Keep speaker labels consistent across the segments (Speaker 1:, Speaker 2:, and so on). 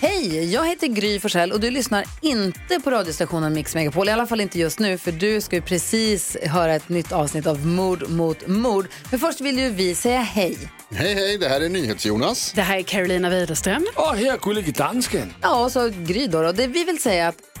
Speaker 1: Hej, jag heter Gry Forssell och du lyssnar inte på radiostationen Mix Megapol. I alla fall inte just nu, för du ska ju precis höra ett nytt avsnitt av Mord mot mord. Men först vill ju vi säga hej.
Speaker 2: Hej, hej, det här är NyhetsJonas.
Speaker 3: Det här är Carolina Widerström.
Speaker 4: Och här är Gullige Dansken.
Speaker 1: Ja, och så Gry då. då. Det vi vill säga är att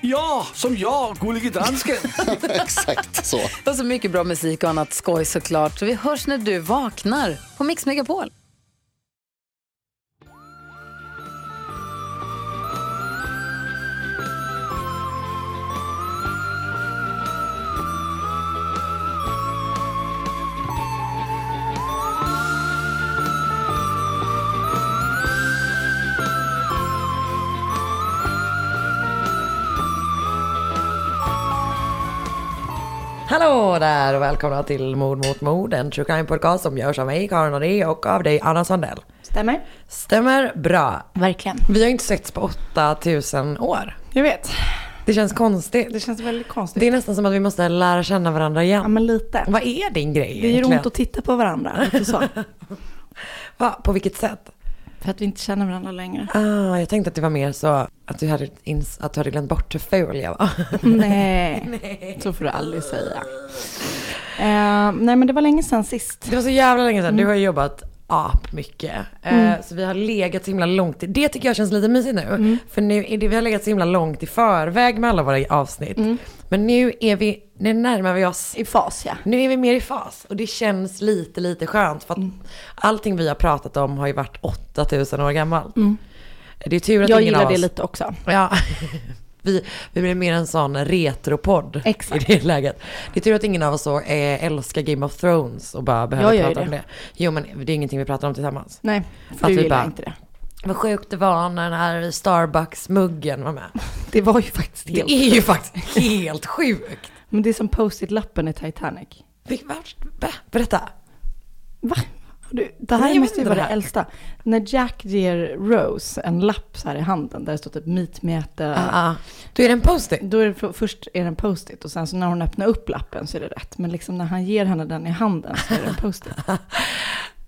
Speaker 4: Ja, som jag, Gullige Dansken.
Speaker 2: Exakt så.
Speaker 1: Och så mycket bra musik och annat skoj såklart. Så vi hörs när du vaknar på Mix Megapol.
Speaker 5: Hallå där och välkomna till Mord mot mord, en true crime podcast som görs av mig, Karin Noré och av dig, Anna Sandell.
Speaker 6: Stämmer.
Speaker 5: Stämmer bra.
Speaker 6: Verkligen.
Speaker 5: Vi har inte setts på 8000 år.
Speaker 6: Jag vet.
Speaker 5: Det känns konstigt.
Speaker 6: Det känns väldigt konstigt.
Speaker 5: Det är nästan som att vi måste lära känna varandra igen.
Speaker 6: Ja, men lite.
Speaker 5: Vad är din grej
Speaker 6: det gör
Speaker 5: egentligen?
Speaker 6: ont att titta på varandra. och Så.
Speaker 5: Va, På vilket sätt?
Speaker 6: För att vi inte känner varandra längre.
Speaker 5: Ah, jag tänkte att det var mer så att du hade, ins- att du hade glömt bort hur ful jag var.
Speaker 6: Nej. så får du aldrig säga. Eh, nej, men det var länge sedan sist.
Speaker 5: Det var så jävla länge sedan. Du har ju jobbat ap mycket. Eh,
Speaker 6: Mm.
Speaker 5: Så vi har legat så himla långt. i- Det tycker jag känns lite mysigt nu. För nu är det, vi har legat så himla långt i förväg med alla våra avsnitt. Men nu är vi, nu närmar vi oss.
Speaker 6: Mm. I fas, ja.
Speaker 5: Nu är vi mer i fas och det känns lite, lite skönt för att
Speaker 6: Mm.
Speaker 5: allting vi har pratat om har ju varit 8000 år gammalt. Det är tur att
Speaker 6: Mm. Jag
Speaker 5: ingen av
Speaker 6: gillar
Speaker 5: oss...
Speaker 6: det lite också.
Speaker 5: Ja. Vi, vi blir mer en sån retropodd
Speaker 6: Exakt.
Speaker 5: i det läget. Det är tur att ingen av oss så eh, älskar Game of Thrones och bara behöver
Speaker 6: Jag gör ju
Speaker 5: prata om
Speaker 6: det.
Speaker 5: det. Jo men det är ingenting vi pratar om tillsammans.
Speaker 6: Nej,
Speaker 5: Att
Speaker 6: för du
Speaker 5: vi
Speaker 6: gillar
Speaker 5: bara-
Speaker 6: inte det.
Speaker 5: Vad sjukt det var när den här Starbucks-muggen var med.
Speaker 6: Det var ju faktiskt
Speaker 5: Det
Speaker 6: helt...
Speaker 5: är ju faktiskt helt sjukt.
Speaker 6: Men det är som post-it-lappen i Titanic.
Speaker 5: Vi- vart- va? Berätta.
Speaker 6: Va? Har Du, det här
Speaker 5: Nej, jag vet
Speaker 6: måste ju
Speaker 5: inte
Speaker 6: vara
Speaker 5: det
Speaker 6: det
Speaker 5: här.
Speaker 6: äldsta. När Jack ger Rose en lapp så här i handen där det står typ meet me at the...
Speaker 5: Ah, ah. Du är det en post-it.
Speaker 6: Då är det, för- först är det en post-it och sen så när hon öppnar upp lappen så är det rätt. Men liksom när han ger henne den i handen så är det en post-it.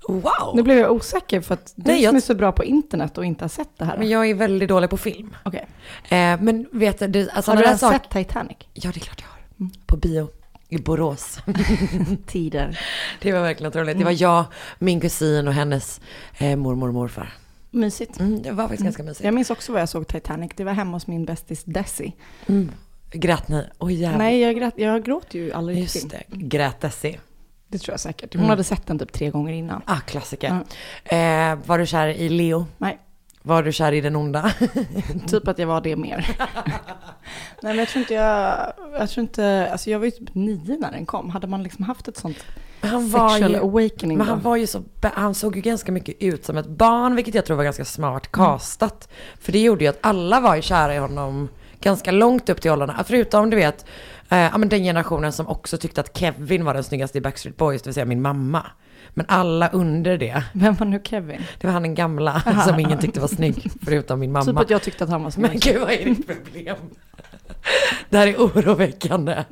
Speaker 5: Wow.
Speaker 6: Nu blev jag osäker för att du
Speaker 5: Nej, jag-
Speaker 6: som är så bra på internet och inte har sett det här.
Speaker 5: Men jag är väldigt dålig på film.
Speaker 6: Okej.
Speaker 5: Eh, men vet du, det- alltså
Speaker 6: Har du
Speaker 5: den här
Speaker 6: ens
Speaker 5: sak-
Speaker 6: sett Titanic?
Speaker 5: Ja, det är klart jag har. På bio. I Borås.
Speaker 6: Tider.
Speaker 5: Det var verkligen otroligt. Det
Speaker 6: Mm.
Speaker 5: var jag, min kusin och hennes eh, mormor och morfar.
Speaker 6: Mysigt.
Speaker 5: Mm, det var faktiskt ganska mysigt.
Speaker 6: Jag minns också vad jag såg Titanic. Det var hemma hos min bästis Desi.
Speaker 5: Mm. Grät ni? Oj jävlar.
Speaker 6: Nej, jag, grät, jag gråter ju aldrig i film.
Speaker 5: Just det, grät Desi.
Speaker 6: Det tror jag säkert. Hon hade sett den typ tre gånger innan.
Speaker 5: Ah, klassiker.
Speaker 6: Mm.
Speaker 5: Eh, var du kär i Leo?
Speaker 6: Nej,
Speaker 5: Var du kär i den onda?
Speaker 6: Typ att jag var det mer. Nej men jag tror inte jag, jag tror inte, alltså jag var ju typ nio när den kom. Hade man liksom haft ett sånt
Speaker 5: Han
Speaker 6: sexual awakening
Speaker 5: men han
Speaker 6: då?
Speaker 5: var ju så, han såg ju ganska mycket ut som ett barn, vilket jag tror var ganska smart castat. För det gjorde ju att alla var ju kära i honom ganska långt upp till åldrarna. Förutom du vet, eh, ja men den generationen som också tyckte att Kevin var den snyggaste i Backstreet Boys, det vill säga min mamma. Men alla under det,
Speaker 6: Vem var nu Kevin?
Speaker 5: det var han den gamla som ingen tyckte var snygg, förutom min mamma.
Speaker 6: Typ att jag tyckte att han var
Speaker 5: Men
Speaker 6: snygg.
Speaker 5: gud vad är ditt problem? det här är oroväckande.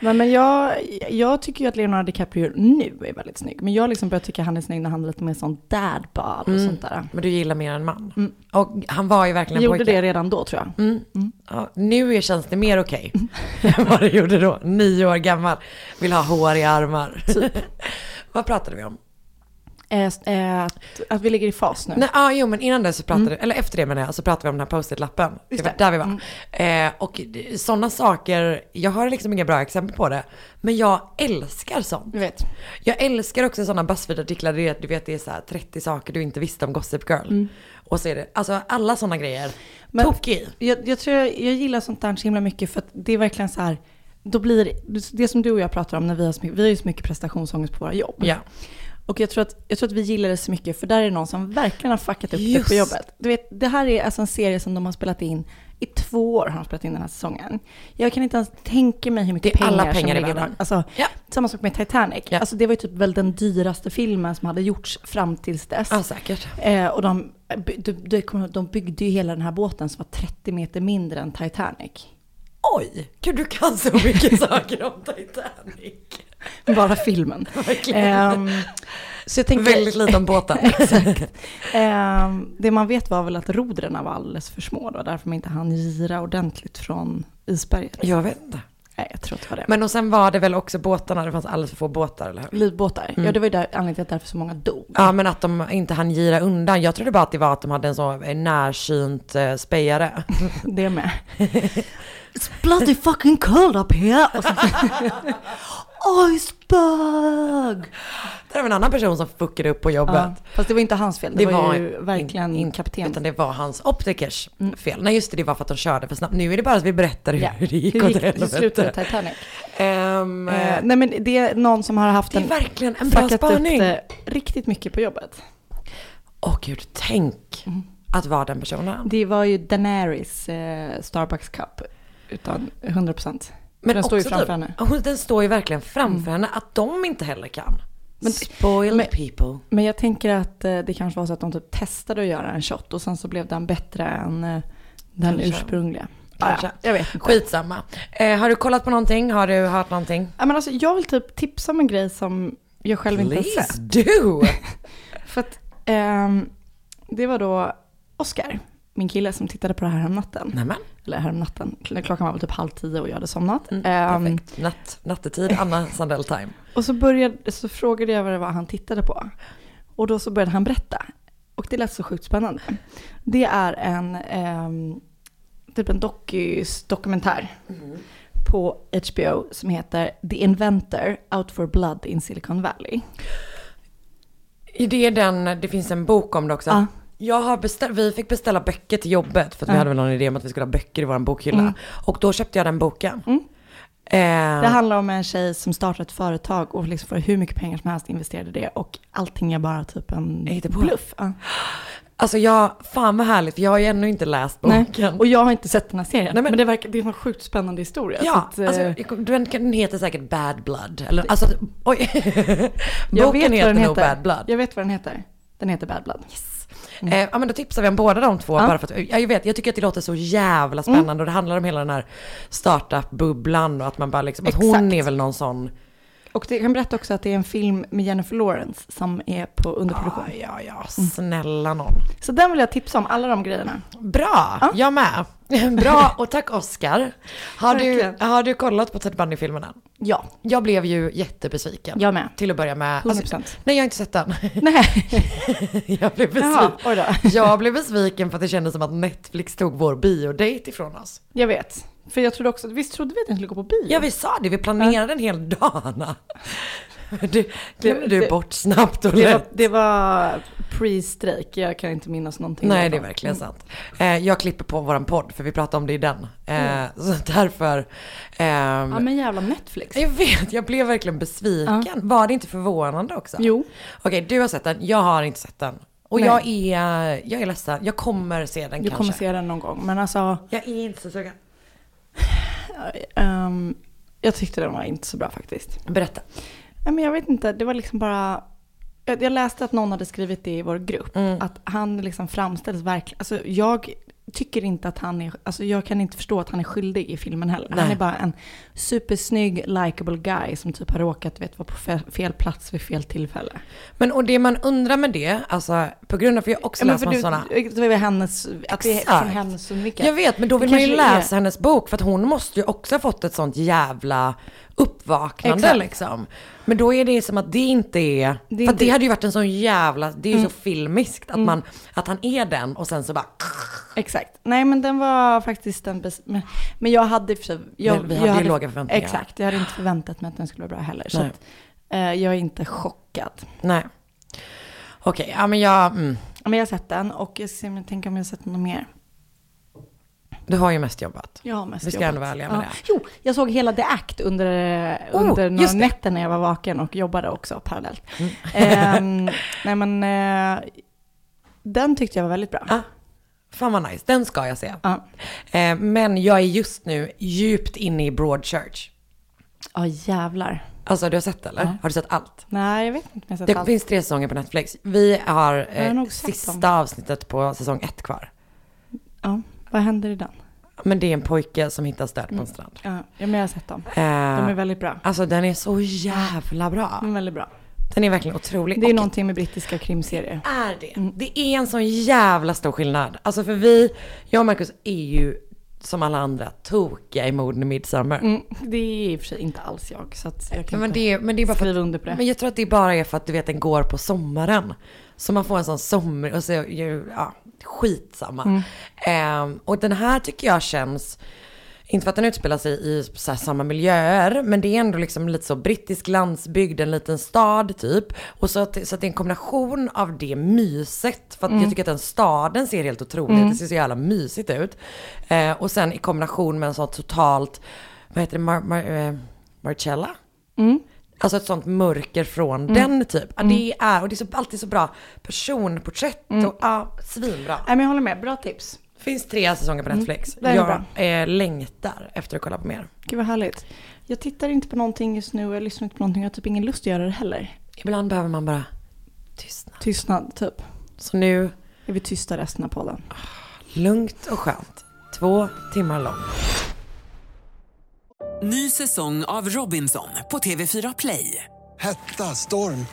Speaker 6: Nej men jag, jag tycker ju att Leonardo DiCaprio nu är väldigt snygg. Men jag har liksom börjar tycka han är snygg när han är lite mer sån dadball och sånt där.
Speaker 5: Mm. Men du gillar mer en man. Och han var ju verkligen
Speaker 6: Jag
Speaker 5: en
Speaker 6: gjorde
Speaker 5: pojke.
Speaker 6: det redan då tror jag.
Speaker 5: Ja, nu är- känns det mer okej än vad det gjorde då. Nio år gammal, vill ha hår i armar. Vad pratade vi om?
Speaker 6: eh, s- eh, att, att vi ligger i fas nu. Mm.
Speaker 5: Nej, ah, jo men innan det så pratade, eller efter det menar jag, så pratade vi om den här post-it-lappen. Det
Speaker 6: Just
Speaker 5: var
Speaker 6: det.
Speaker 5: där
Speaker 6: Mm.
Speaker 5: vi var. Eh, och sådana saker, jag har liksom inga bra exempel på det. Men jag älskar sånt.
Speaker 6: Du vet.
Speaker 5: Jag älskar också sådana Buzzfeed-artiklar, du vet- du vet det är så här 30 saker du inte visste om Gossip Girl. Och så är det, alltså alla sådana grejer.
Speaker 6: Men-
Speaker 5: Tokig.
Speaker 6: Jag, jag tror jag, jag gillar sånt där så himla mycket för att det är verkligen så här, då blir det- det som du och jag pratar om när vi har, så mycket- vi har ju så mycket prestationsångest på våra jobb.
Speaker 5: Ja.
Speaker 6: Och jag tror, att, jag tror att vi gillar det så mycket för där är det någon som verkligen har fuckat upp det
Speaker 5: Just.
Speaker 6: på jobbet. Du vet, det här är alltså en serie som de har spelat in i två år har de spelat in den här säsongen. Jag kan inte ens tänka mig hur mycket
Speaker 5: Det är alla
Speaker 6: pengar,
Speaker 5: pengar i
Speaker 6: som ligger
Speaker 5: världen.
Speaker 6: där. Alltså,
Speaker 5: Ja.
Speaker 6: Samma sak med Titanic.
Speaker 5: Ja.
Speaker 6: Alltså, det var ju typ väl den dyraste filmen som hade gjorts fram tills dess.
Speaker 5: Ja, säkert.
Speaker 6: Eh, och de, by- de, de, kom- de byggde ju hela den här båten som var 30 meter mindre än Titanic.
Speaker 5: Oj, gud du kan så mycket saker om Titanic.
Speaker 6: Bara filmen. Ehm, så jag tänker,
Speaker 5: Väldigt lite om båten.
Speaker 6: ehm, det man vet var väl att rodren var alldeles för små då, därför man inte hann gira ordentligt från isberget.
Speaker 5: jag vet inte.
Speaker 6: Nej, jag tror att det var det.
Speaker 5: Men och sen var det väl också båtarna, det fanns alldeles för få båtar eller hur?
Speaker 6: Livbåtar, ja det var ju där, anledningen till att därför så många dog.
Speaker 5: Ja men att de inte hann gira undan. Jag trodde bara att det var att de hade en så närsynt eh, spejare.
Speaker 6: Det med. It's bloody fucking cold up here! Och så, Iceberg!
Speaker 5: Det var en annan person som fuckade upp på jobbet.
Speaker 6: Ja, fast det var inte hans fel, det, var, ju
Speaker 5: in-
Speaker 6: verkligen Mm.
Speaker 5: in-
Speaker 6: kaptenen.
Speaker 5: Utan det var hans optikers fel. Nej just det, det var för att de körde för snabbt. Nu är det bara att vi berättar hur,
Speaker 6: Ja.
Speaker 5: hur det gick
Speaker 6: Hur
Speaker 5: åt
Speaker 6: gick det? Hur slutade
Speaker 5: helvete.
Speaker 6: Titanic?
Speaker 5: Ehm,
Speaker 6: Eh, nej men det är någon som har haft
Speaker 5: det är
Speaker 6: en
Speaker 5: verkligen en bra
Speaker 6: fuckat
Speaker 5: spaning.
Speaker 6: upp det riktigt mycket på jobbet. Mm.
Speaker 5: Åh gud, tänk att vara den personen.
Speaker 6: Det var ju Daenerys eh, Starbucks cup. Utan 100 procent.
Speaker 5: Men
Speaker 6: den står ju
Speaker 5: också
Speaker 6: framför
Speaker 5: typ-
Speaker 6: henne. Mm.
Speaker 5: Ja, hon- Den står ju verkligen framför henne. Att de inte heller kan.
Speaker 6: Men-
Speaker 5: Spoiled
Speaker 6: men-
Speaker 5: people.
Speaker 6: Men jag tänker att eh, det kanske var så att de typ testade att göra en shot och sen så blev den bättre än eh, den
Speaker 5: Kanske.
Speaker 6: ursprungliga.
Speaker 5: Kanske.
Speaker 6: Ah, ja, jag vet inte.
Speaker 5: Skitsamma. Eh, har du kollat på någonting? Har du hört någonting?
Speaker 6: Ja, men alltså, jag vill typ tipsa om en grej som jag själv inte har sett.
Speaker 5: do!
Speaker 6: För att ehm, det var då Oscar, min kille som tittade på det här häromnatten.
Speaker 5: Nämen.
Speaker 6: eller häromnatten. Kl- Klockan var väl typ halv tio och jag hade somnat. Ehm,
Speaker 5: Mm, Perfekt. Natt, nattetid, Anna Sandell time.
Speaker 6: och så, började, så frågade jag vad det var han tittade på. Och då så började han berätta. Och det lät så sjukt spännande. Det är en ehm, typ en dokys- dokumentär på HBO som heter The Inventor Out for Blood in Silicon Valley.
Speaker 5: Är Det, den, det finns en bok om det också.
Speaker 6: Ja.
Speaker 5: Jag har beställ, vi fick beställa böcker till jobbet för att vi
Speaker 6: Ja.
Speaker 5: hade väl någon idé om att vi skulle ha böcker i vår bokhylla.
Speaker 6: Mm.
Speaker 5: Och då köpte jag den boken. Eh,
Speaker 6: Det handlar om en tjej som startar ett företag och liksom får hur mycket pengar som helst investerade i det och allting är bara typ en
Speaker 5: Jag hittar på.
Speaker 6: bluff. Ja.
Speaker 5: Alltså jag, fan vad härligt för jag har ju ännu inte läst boken.
Speaker 6: Nej. Och jag har inte sett den här serien.
Speaker 5: Nej, men-
Speaker 6: men, det, verkar, det är en sjukt spännande historia.
Speaker 5: Ja,
Speaker 6: så att, eh,
Speaker 5: alltså, den, den heter säkert Bad Blood. Eller, alltså, oj.
Speaker 6: jag
Speaker 5: Boken
Speaker 6: vet vad
Speaker 5: heter
Speaker 6: den
Speaker 5: nog Bad Blood.
Speaker 6: Jag vet vad den heter. Den heter Bad Blood.
Speaker 5: Eh, ja men då tipsar vi om båda de två.
Speaker 6: Ja. Mm.
Speaker 5: Bara för att, ja, jag, vet, jag tycker att det låter så jävla spännande och det handlar om hela den här startup-bubblan och att man bara liksom, att hon
Speaker 6: Exakt.
Speaker 5: är väl någon sån,
Speaker 6: Och det, jag kan berätta också att det är en film med Jennifer Lawrence som är på underproduktion. Mm.
Speaker 5: ja Ah, ja ja, snälla någon.
Speaker 6: Så den vill jag tipsa om, alla de grejerna.
Speaker 5: Bra, jag med. Bra och tack Oscar. Har, du,
Speaker 6: Verkligen.
Speaker 5: har du kollat på Ted Bundy-filmen än?
Speaker 6: Ja,
Speaker 5: Jag blev ju jättebesviken.
Speaker 6: jag med.
Speaker 5: Till att börja med. Alltså,
Speaker 6: 100%.
Speaker 5: nej jag har inte sett den.
Speaker 6: Nej,
Speaker 5: jag blev besviken.
Speaker 6: Jaha, oj då.
Speaker 5: Jag blev besviken för att det kändes som att Netflix tog vår biodate ifrån oss.
Speaker 6: Jag vet. För jag trodde också, visst trodde vi att den skulle gå på bio?
Speaker 5: Ja vi sa det, vi planerade en hel dag Anna. Du, glömde du
Speaker 6: det-
Speaker 5: bort snabbt och
Speaker 6: Det var,
Speaker 5: lätt.
Speaker 6: det var pre-strejk, jag kan inte minnas någonting. Mm.
Speaker 5: Nej
Speaker 6: därifrån.
Speaker 5: det är verkligen sant. Eh, jag klipper på våran podd för vi pratade om det i den. Eh,
Speaker 6: Mm.
Speaker 5: Så därför. ehm,
Speaker 6: Ja men jävla Netflix.
Speaker 5: Jag vet, jag blev verkligen besviken. Var det inte förvånande också?
Speaker 6: Jo.
Speaker 5: Okej, du har sett den, jag har inte sett den. Och
Speaker 6: Nej.
Speaker 5: jag är, jag är ledsen, jag kommer se den
Speaker 6: Du
Speaker 5: kanske.
Speaker 6: kommer se den någon gång. Men alltså,
Speaker 5: Jag är inte så sugen.
Speaker 6: ehm, jag tyckte den var inte så bra faktiskt.
Speaker 5: Berätta.
Speaker 6: Nej, men jag vet inte, det var liksom bara... Jag jag läste att någon hade skrivit det i vår grupp.
Speaker 5: Mm.
Speaker 6: Att han liksom framställs verkligen... Alltså jag tycker inte att han är... Alltså jag kan inte förstå att han är skyldig i filmen heller. Han
Speaker 5: Nej.
Speaker 6: är bara en supersnygg, likable guy som typ har råkat vet, vara på fe- fel plats vid fel tillfälle.
Speaker 5: Men och det man undrar med det, alltså på grund av, för jag har också
Speaker 6: Ja, men
Speaker 5: läst
Speaker 6: för
Speaker 5: massa
Speaker 6: du,
Speaker 5: sådana.
Speaker 6: det var ju hennes... Att det är från
Speaker 5: Exakt.
Speaker 6: hennes synvinkel.
Speaker 5: Jag vet, men då
Speaker 6: Det
Speaker 5: vill man ju
Speaker 6: kanske är-
Speaker 5: läsa hennes bok för att hon måste ju också ha fått ett sånt jävla uppvaknande
Speaker 6: Exakt.
Speaker 5: liksom. Men då är det som att det inte är,
Speaker 6: Det är
Speaker 5: för att det
Speaker 6: inte- Mm.
Speaker 5: hade ju varit en sån jävla, det är ju så filmiskt att, man, att han är den och sen så bara,
Speaker 6: Exakt. Nej men den var faktiskt den bästa. Men, men jag hade i och för sig- jag,
Speaker 5: Men vi
Speaker 6: jag
Speaker 5: hade ju låga förväntningar.
Speaker 6: Exakt, jag hade inte förväntat mig att den skulle vara bra heller. Så
Speaker 5: Nej.
Speaker 6: att, eh, jag är inte chockad.
Speaker 5: nej. Okej, ja men jag, mm,
Speaker 6: Men jag har sett den och jag, ser, jag tänker om jag har sett något mer.
Speaker 5: du har ju mest jobbat.
Speaker 6: Jag har mest
Speaker 5: Vi ska
Speaker 6: jobbat.
Speaker 5: ändå vara ärliga med det.
Speaker 6: Jo, jag såg hela The Act under, eh,
Speaker 5: Oh,
Speaker 6: under några
Speaker 5: just det. Mm.
Speaker 6: nätter när jag var vaken och jobbade också parallellt. Ehm, nej men, eh, den tyckte jag var väldigt bra.
Speaker 5: Ah, fan vad nice, den ska jag se.
Speaker 6: Ja,
Speaker 5: Eh, men jag är just nu djupt inne i Broadchurch.
Speaker 6: ah. jävlar.
Speaker 5: Alltså du har sett eller? Har du sett allt?
Speaker 6: Nej, jag vet inte om jag har sett
Speaker 5: Det
Speaker 6: allt.
Speaker 5: finns tre säsonger på Netflix. Vi har
Speaker 6: Jag har
Speaker 5: eh,
Speaker 6: nog sett
Speaker 5: sista
Speaker 6: dem.
Speaker 5: avsnittet på säsong ett kvar.
Speaker 6: Ja, vad händer i den? Mm.
Speaker 5: Men det är en pojke som hittas död på en strand.
Speaker 6: Ja, ja, men jag har sett dem. De är
Speaker 5: Eh,
Speaker 6: väldigt bra.
Speaker 5: alltså den är så jävla
Speaker 6: De
Speaker 5: bra.
Speaker 6: är väldigt bra.
Speaker 5: Den är verkligen otrolig.
Speaker 6: Det är
Speaker 5: Och
Speaker 6: någonting med brittiska krimserier. Mm.
Speaker 5: är det. Det är en sån jävla stor skillnad. Alltså för vi, jag och Marcus är ju som alla andra tokiga i morden i Midsommar.
Speaker 6: Mm, det är i och för sig inte alls jag, så att jag kan
Speaker 5: Men
Speaker 6: inte
Speaker 5: det, är- men det är bara för att
Speaker 6: skriva under på det.
Speaker 5: Men jag tror att det bara är för att du vet den går på sommaren. Så man får en sån sommar och så, ju- ja, skitsamma. Ehm, och den här tycker jag känns, inte för att den utspelar sig i så här samma miljöer, men det är ändå liksom lite så brittisk landsbygd, en liten stad typ. Och så att, så att det är en kombination av det myset, för att jag tycker att den staden ser helt otrolig ut, det ser så jävla mysigt ut. Eh, och sen i kombination med en sån totalt, vad heter det, Mar- Mar- eh, Marcella? Alltså ett sånt mörker från den typ. Ja, det är, och det är så, alltid så bra personporträtt och ja, svinbra.
Speaker 6: Mm. Nej, men jag håller med. Bra tips. Mm.
Speaker 5: Finns tre säsonger på Netflix.
Speaker 6: det är
Speaker 5: Jag eh, längtar efter att kolla på mer.
Speaker 6: Gud vad härligt. Jag tittar inte på någonting just nu och jag lyssnar inte på någonting. Jag har typ ingen lust att göra det heller.
Speaker 5: Ibland behöver man bara tystna.
Speaker 6: Tystnad, typ.
Speaker 5: Så nu, Ah,
Speaker 6: Är vi tysta resten av podden?
Speaker 5: lugnt och skönt. Två timmar lång.
Speaker 7: Ny säsong av Robinson på TV4 Play.
Speaker 8: Hetta, storm,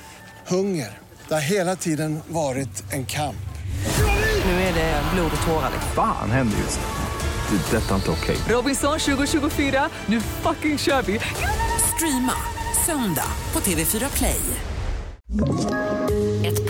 Speaker 8: hunger. Det har hela tiden varit en kamp.
Speaker 7: Nu är det blod och tårar. liksom?
Speaker 9: Fan händer just det. Det är detta inte okej.
Speaker 7: Robinson 2024, nu fucking kör vi! Streama söndag på TV4 Play.
Speaker 10: Ett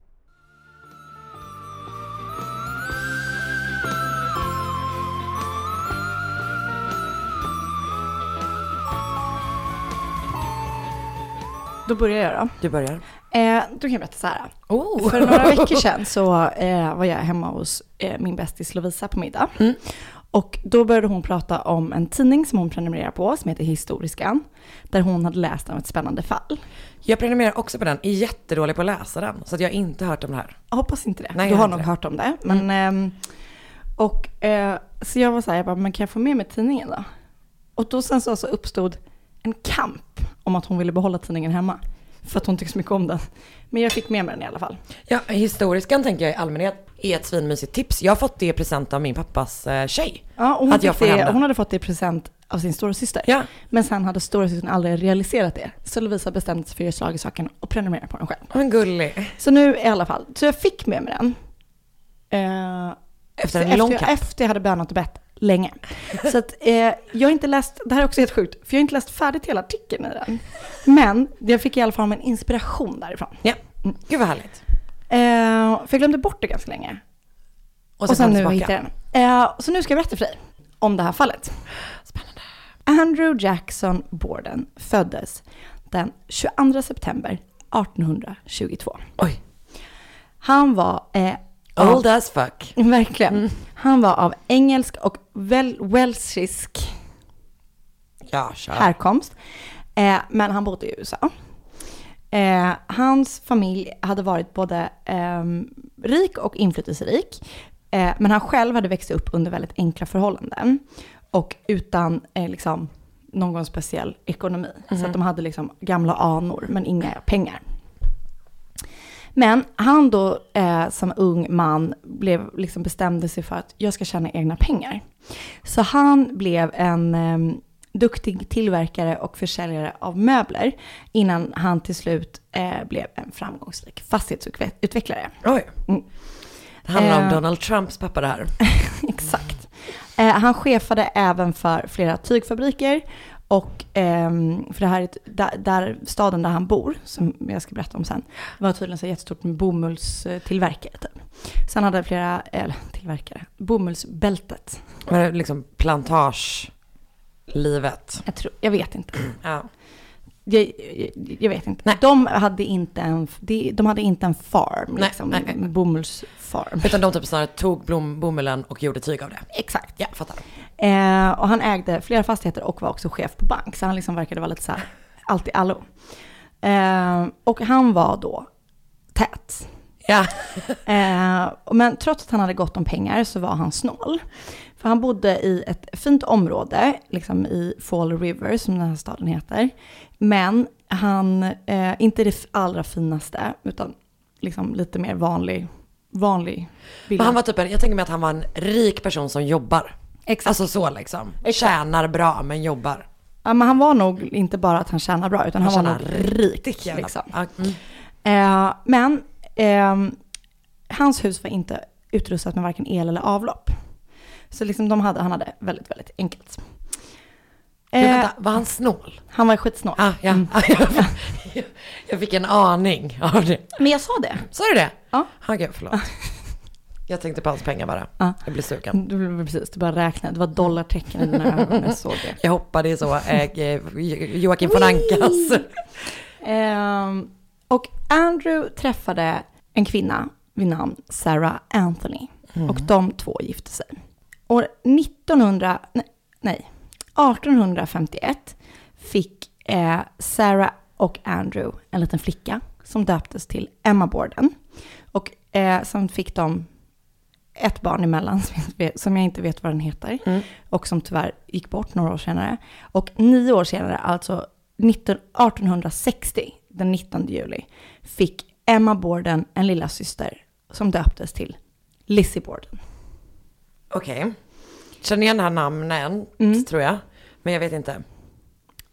Speaker 6: Då börjar jag då.
Speaker 5: Du börjar.
Speaker 6: Eh, då kan jag berätta så här.
Speaker 5: Oh.
Speaker 6: För några veckor sedan så eh, var jag hemma hos eh, min bästis Lovisa på middag.
Speaker 5: Mm.
Speaker 6: Och då började hon prata om en tidning som hon prenumererar på som heter Historiskan. Där hon hade läst om ett spännande fall.
Speaker 5: Jag prenumererar också på den, är jättedålig på att läsa den. Så att jag har inte hört om det här.
Speaker 6: Jag hoppas inte det.
Speaker 5: Nej,
Speaker 6: du
Speaker 5: jag
Speaker 6: har
Speaker 5: vet
Speaker 6: nog
Speaker 5: det. Mm.
Speaker 6: hört om det. Men, ehm, och, eh, så jag var så här, jag bara, men kan jag få med mig tidningen då? Och då sen så alltså uppstod en kamp om att hon ville behålla tidningen hemma. För att hon tyckte så mycket om den. Men jag fick med mig den i alla fall.
Speaker 5: Ja, historiskan tänker jag i allmänhet är ett svinmysigt tips. Jag har fått det i present av min pappas eh, tjej.
Speaker 6: Ja, och hon,
Speaker 5: Att jag
Speaker 6: fick
Speaker 5: får hem
Speaker 6: det,
Speaker 5: den.
Speaker 6: hon hade fått det i present av sin stora syster.
Speaker 5: Ja.
Speaker 6: Men sen hade stora systern aldrig realiserat det. Så Lovisa bestämde sig för att göra slag i saken och prenumerera på den själv.
Speaker 5: Men gullig.
Speaker 6: Så nu i alla fall, så jag fick med mig den. Eh,
Speaker 5: Efter en
Speaker 6: efter,
Speaker 5: lång
Speaker 6: jag-
Speaker 5: kamp.
Speaker 6: efter jag hade bönat och bett länge. Så att, eh, jag har inte läst, det här är också helt sjukt, för jag har inte läst färdigt hela artikeln i den. Men jag fick i alla fall en inspiration därifrån.
Speaker 5: Ja, gud vad härligt.
Speaker 6: Eh, för jag glömde bort det ganska länge. Och, sen
Speaker 5: kom
Speaker 6: nu
Speaker 5: tillbaka.
Speaker 6: hittade jag den. Eh, så nu ska jag berätta för dig om det här fallet.
Speaker 5: Spännande.
Speaker 6: Andrew Jackson Borden föddes den 22 september 1822.
Speaker 5: Oj.
Speaker 6: Han var eh, av-
Speaker 5: Old as fuck. Mm.
Speaker 6: Verkligen. Han var av engelsk och wel- welsisk
Speaker 5: Ja, kör.
Speaker 6: härkomst. Eh, men han bodde i USA. Eh, hans familj hade varit både ehm, rik och inflytelserik. Eh, men han själv hade växt upp under väldigt enkla förhållanden. Och utan eh, liksom, någon speciell ekonomi. Så
Speaker 10: Mhm.
Speaker 6: att de hade liksom gamla anor men inga pengar. Men han då eh, som ung man blev, liksom bestämde sig för att jag ska tjäna egna pengar. Så han blev en eh, duktig tillverkare och försäljare av möbler innan han till slut eh, blev en framgångsrik fastighetsutvecklare.
Speaker 5: Oj.
Speaker 6: Mm.
Speaker 5: Det handlar om
Speaker 6: Eh,
Speaker 5: Donald Trumps pappa det här.
Speaker 6: Exakt. Eh, han chefade även för flera tygfabriker och ehm, för det här är ett, där, där staden där han bor, som jag ska berätta om sen, var tydligen så jättestort med bomullstillverkare typ. Sen hade han flera, eller tillverkare, bomullsbältet.
Speaker 5: Var det liksom plantagelivet?
Speaker 6: Jag, tror, jag vet inte.
Speaker 5: Ja.
Speaker 6: Jag, jag, jag vet inte. De hade inte en, de, de hade inte en farm,
Speaker 5: Nej,
Speaker 6: liksom,
Speaker 5: nej, nej, nej.
Speaker 6: en bomullsfarm.
Speaker 5: Utan de typ snarare tog blom, bomullen och gjorde tyg av det.
Speaker 6: Exakt.
Speaker 5: Ja, fattar.
Speaker 6: Eh, och han ägde flera fastigheter och var också chef på bank. Så han liksom verkade vara lite så här, allt i allo. Eh, och han var då tät.
Speaker 5: Ja.
Speaker 6: eh, och men trots att han hade gott om pengar så var han snål. För han bodde i ett fint område, liksom i Fall River som den här staden heter. Men han, eh, inte det allra finaste, utan liksom lite mer vanlig, vanlig
Speaker 5: Men han var typ en, jag tänker mig att han var en rik person som jobbar.
Speaker 6: Exakt.
Speaker 5: Alltså så liksom. Tjänar bra men jobbar.
Speaker 6: Ja, men han var nog inte bara att han tjänar bra, utan han, var nog
Speaker 5: tjänar
Speaker 6: rik.
Speaker 5: riktigt jävla-
Speaker 6: Liksom.
Speaker 5: Ja, mm.
Speaker 6: Eh, men ehm, hans hus var inte utrustat med varken el eller avlopp. Så liksom de hade, han hade väldigt, väldigt enkelt.
Speaker 5: Men
Speaker 6: Eh,
Speaker 5: vänta, var han snål?
Speaker 6: Han var skitsnål. Mm.
Speaker 5: Ah, ja. Ah, jag, jag fick en aning av det.
Speaker 6: Men jag sa det.
Speaker 5: Sa du det?
Speaker 6: Ja.
Speaker 5: Ah, gud, förlåt. Jag tänkte på hans pengar bara.
Speaker 6: Ja.
Speaker 5: Jag blev sugen.
Speaker 6: Du, blev- precis, du bara räknade, det var dollartecken i dina ögon, jag såg det.
Speaker 5: Jag hoppade i så, eh, Jo- Joakim von Ankas.
Speaker 6: Ehm, och Andrew träffade en kvinna vid namn Sarah Anthony.
Speaker 10: Mm.
Speaker 6: Och de två gifte sig. År 1900, ne- nej, 1851 fick eh, Sarah och Andrew en liten flicka som döptes till Emma Borden. Och eh, sen fick de ett barn emellan som jag inte vet- som jag inte vet vad den heter. Och som tyvärr gick bort några år senare. Och nio år senare, alltså 19, 1860, den 19 juli, fick Emma Borden en lilla syster som döptes till Lizzie Borden.
Speaker 5: Okej. Känner igen det här namnen, tror jag. Men jag vet inte.
Speaker 6: Mm.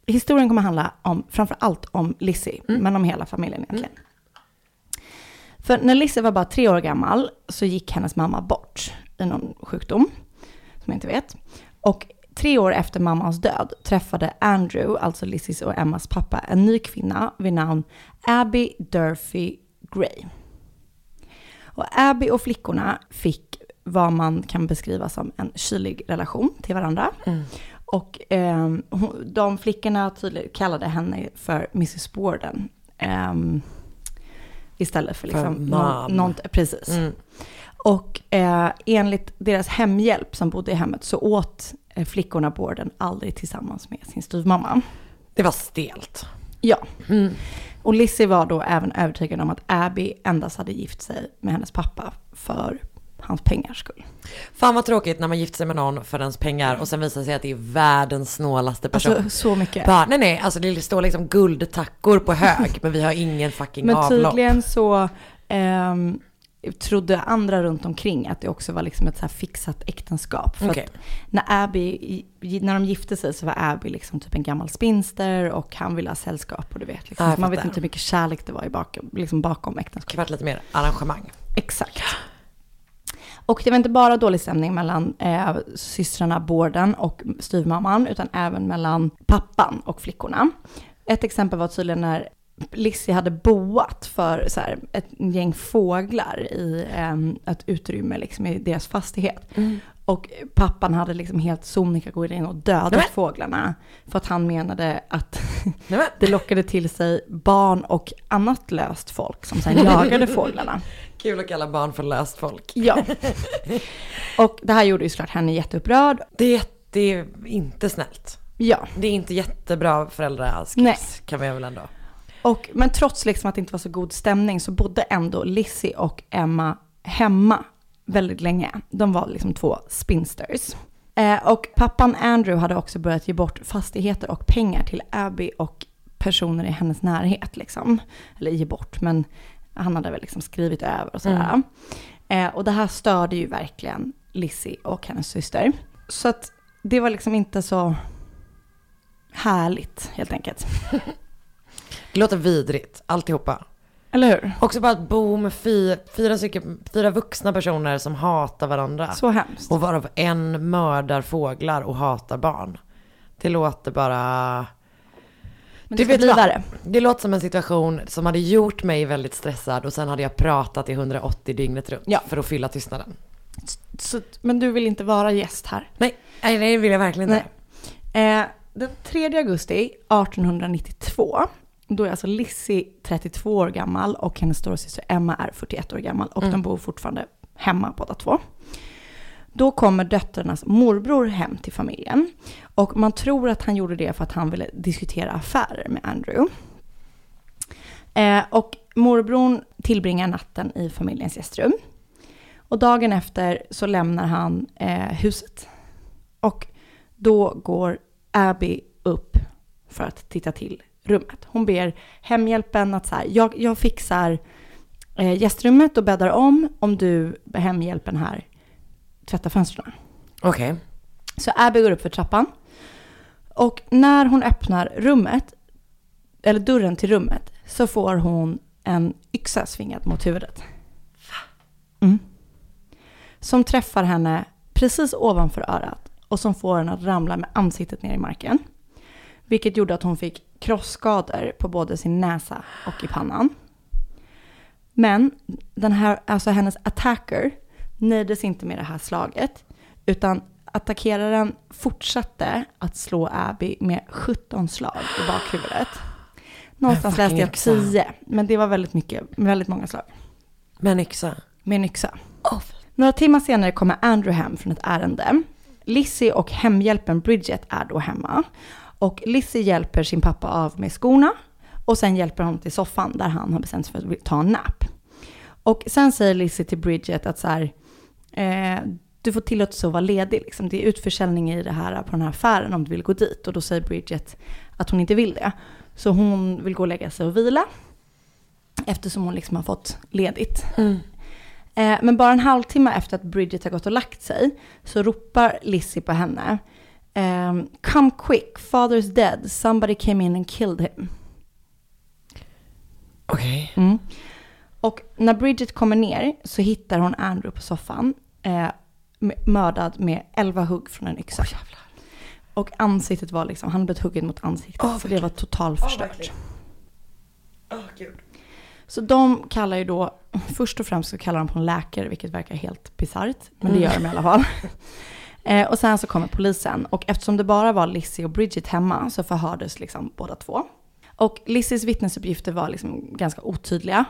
Speaker 6: Historien kommer handla om, framför allt om Lizzie,
Speaker 5: Mm.
Speaker 6: men om hela familjen egentligen. För när Lizzie var bara tre år gammal så gick hennes mamma bort i någon sjukdom, som jag inte vet. Och tre år efter mammans död träffade Andrew, alltså Lizzies och Emmas pappa, en ny kvinna vid namn Abby Durfee Gray. Och Abby och flickorna fick vad man kan beskriva som en kylig relation till varandra. Och ehm, hon- de flickorna tydligt kallade henne för Mrs Borden. ehm, istället för
Speaker 5: För mam.
Speaker 6: liksom någon, någon, precis.
Speaker 5: Mm.
Speaker 6: Och eh, enligt deras hemhjälp som bodde i hemmet så åt eh, flickorna Borden aldrig tillsammans med sin styvmamma.
Speaker 5: Det var stelt.
Speaker 6: Ja.
Speaker 5: Mm.
Speaker 6: Och Lizzie var då även övertygad om att Abby endast hade gift sig med hennes pappa för hans pengars skull.
Speaker 5: Fan vad tråkigt när man gifter sig med någon för ens pengar och sen visar det sig att det är världens snålaste person.
Speaker 6: Alltså så mycket.
Speaker 5: Bara, nej nej, alltså det står liksom guldtackor på hög men vi har ingen fucking
Speaker 6: Men
Speaker 5: avlopp.
Speaker 6: tydligen så ehm, trodde andra runt omkring att det också var liksom ett så här fixat äktenskap. För
Speaker 5: Okej.
Speaker 6: att när, Abby, när de gifte sig så var Abby liksom typ en gammal spinster och han ville ha sällskap och du vet. Liksom.
Speaker 5: Ja, jag
Speaker 6: så man vet
Speaker 5: fattar.
Speaker 6: inte hur mycket kärlek det var i bakom, liksom bakom äktenskapet.
Speaker 5: Det varit lite mer arrangemang.
Speaker 6: Exakt. Och det var inte bara dålig stämning mellan eh, systrarna Borden och styvmamman, utan även mellan pappan och flickorna. Ett exempel var tydligen när Lizzie hade boat för så här, ett gäng fåglar i eh, ett utrymme liksom, i deras fastighet.
Speaker 5: Mm.
Speaker 6: Och pappan hade liksom helt sonika gått in och dödat
Speaker 5: Nämen.
Speaker 6: fåglarna. För att han menade att
Speaker 5: Nämen.
Speaker 6: det lockade till sig barn och annat löst folk som sen jagade fåglarna.
Speaker 5: Kul att kalla barn för löst folk.
Speaker 6: Ja. Och det här gjorde ju såklart henne jätteupprörd.
Speaker 5: Det är, jätte- det är inte snällt.
Speaker 6: Ja.
Speaker 5: Det är inte jättebra
Speaker 6: Nej.
Speaker 5: föräldraskiss kan vi väl ändå.
Speaker 6: Och, men trots liksom att det inte var så god stämning så bodde ändå Lizzie och Emma hemma väldigt länge. De var liksom två spinsters. Eh, och pappan Andrew hade också börjat ge bort fastigheter och pengar till Abby och personer i hennes närhet. Liksom. Eller ge bort, men han hade väl liksom skrivit över och sådär.
Speaker 10: Mm.
Speaker 6: Eh, och det här störde ju verkligen Lizzie och hennes syster. Så att det var liksom inte så härligt helt enkelt.
Speaker 5: Det låter vidrigt, alltihopa.
Speaker 6: Eller hur?
Speaker 5: Också bara att bo med fy, fyra, stycken, fyra vuxna personer som hatar varandra.
Speaker 6: Så hemskt.
Speaker 5: Och varav en mördar fåglar och hatar barn. Det låter bara... Du
Speaker 6: Men det ska
Speaker 5: vet
Speaker 6: bli
Speaker 5: vad?
Speaker 6: värre.
Speaker 5: Det låter som en situation som hade gjort mig väldigt stressad och sen hade jag pratat i 180 dygnet runt för att fylla tystnaden.
Speaker 6: Så, men du vill inte vara gäst här?
Speaker 5: Nej, nej det vill jag verkligen inte.
Speaker 6: Eh, den 3 augusti 1892, då är alltså Lizzie 32 år gammal och hennes storasyster Emma är 41 år gammal och
Speaker 5: Mm.
Speaker 6: de bor fortfarande hemma båda två. Då kommer döttrarnas morbror hem till familjen och man tror att han gjorde det för att han ville diskutera affärer med Andrew. Eh, och morbrorn tillbringar natten i familjens gästrum. Och dagen efter så lämnar han eh, huset. Och då går Abby upp för att titta till rummet. Hon ber hemhjälpen att så här, jag, jag fixar eh, gästrummet och bäddar om om du, hemhjälpen här, tvättar fönstren.
Speaker 5: Okej.
Speaker 6: Så Abby går upp för trappan. Och när hon öppnar rummet, eller dörren till rummet, så får hon en yxa svingad mot huvudet. Mm. Som träffar henne precis ovanför örat och som får henne att ramla med ansiktet ner i marken. Vilket gjorde att hon fick krossskador på både sin näsa och i pannan. Men den här, alltså hennes attacker nöjdes inte med det här slaget. Utan attackeraren fortsatte att slå Abby med 17 slag i bakhuvudet. Någonstans
Speaker 5: Men
Speaker 6: läste
Speaker 5: fucking
Speaker 6: jag
Speaker 5: yxa.
Speaker 6: 10, men det var väldigt, mycket, väldigt många slag.
Speaker 5: Med en yxa?
Speaker 6: Med en yxa. Några timmar senare kommer Andrew hem från ett ärende. Lizzie och hemhjälpen Bridget är då hemma. Och Lizzie hjälper sin pappa av med skorna. Och sen hjälper hon till soffan där han har bestämt sig för att ta en nap. Och sen säger Lizzie till Bridget att så här, eh, du får tillåtelse att vara ledig. Liksom. Det är utförsäljning i det här, på den här affären om du vill gå dit. Och då säger Bridget att hon inte vill det. Så hon vill gå och lägga sig och vila. Eftersom hon liksom har fått ledigt. Eh, men bara en halvtimme efter att Bridget har gått och lagt sig så ropar Lizzie på henne. ehm, Come quick, father's dead, somebody came in and killed him.
Speaker 5: Okej.
Speaker 6: Mm. Och när Bridget kommer ner så hittar hon Andrew på soffan. Eh, med- mördad med 11 hugg från en yxa. och ansiktet var liksom, han hade blivit huggen mot ansiktet. så det var totalförstört. Så de kallar ju då, först och främst så kallar de på en läkare, vilket verkar helt bisarrt. Men det
Speaker 10: Mm.
Speaker 6: gör de i alla fall. Eh, och sen så kommer polisen. Och eftersom det bara var Lizzie och Bridget hemma så förhördes liksom båda två. Och Lizzies vittnesuppgifter var liksom ganska otydliga.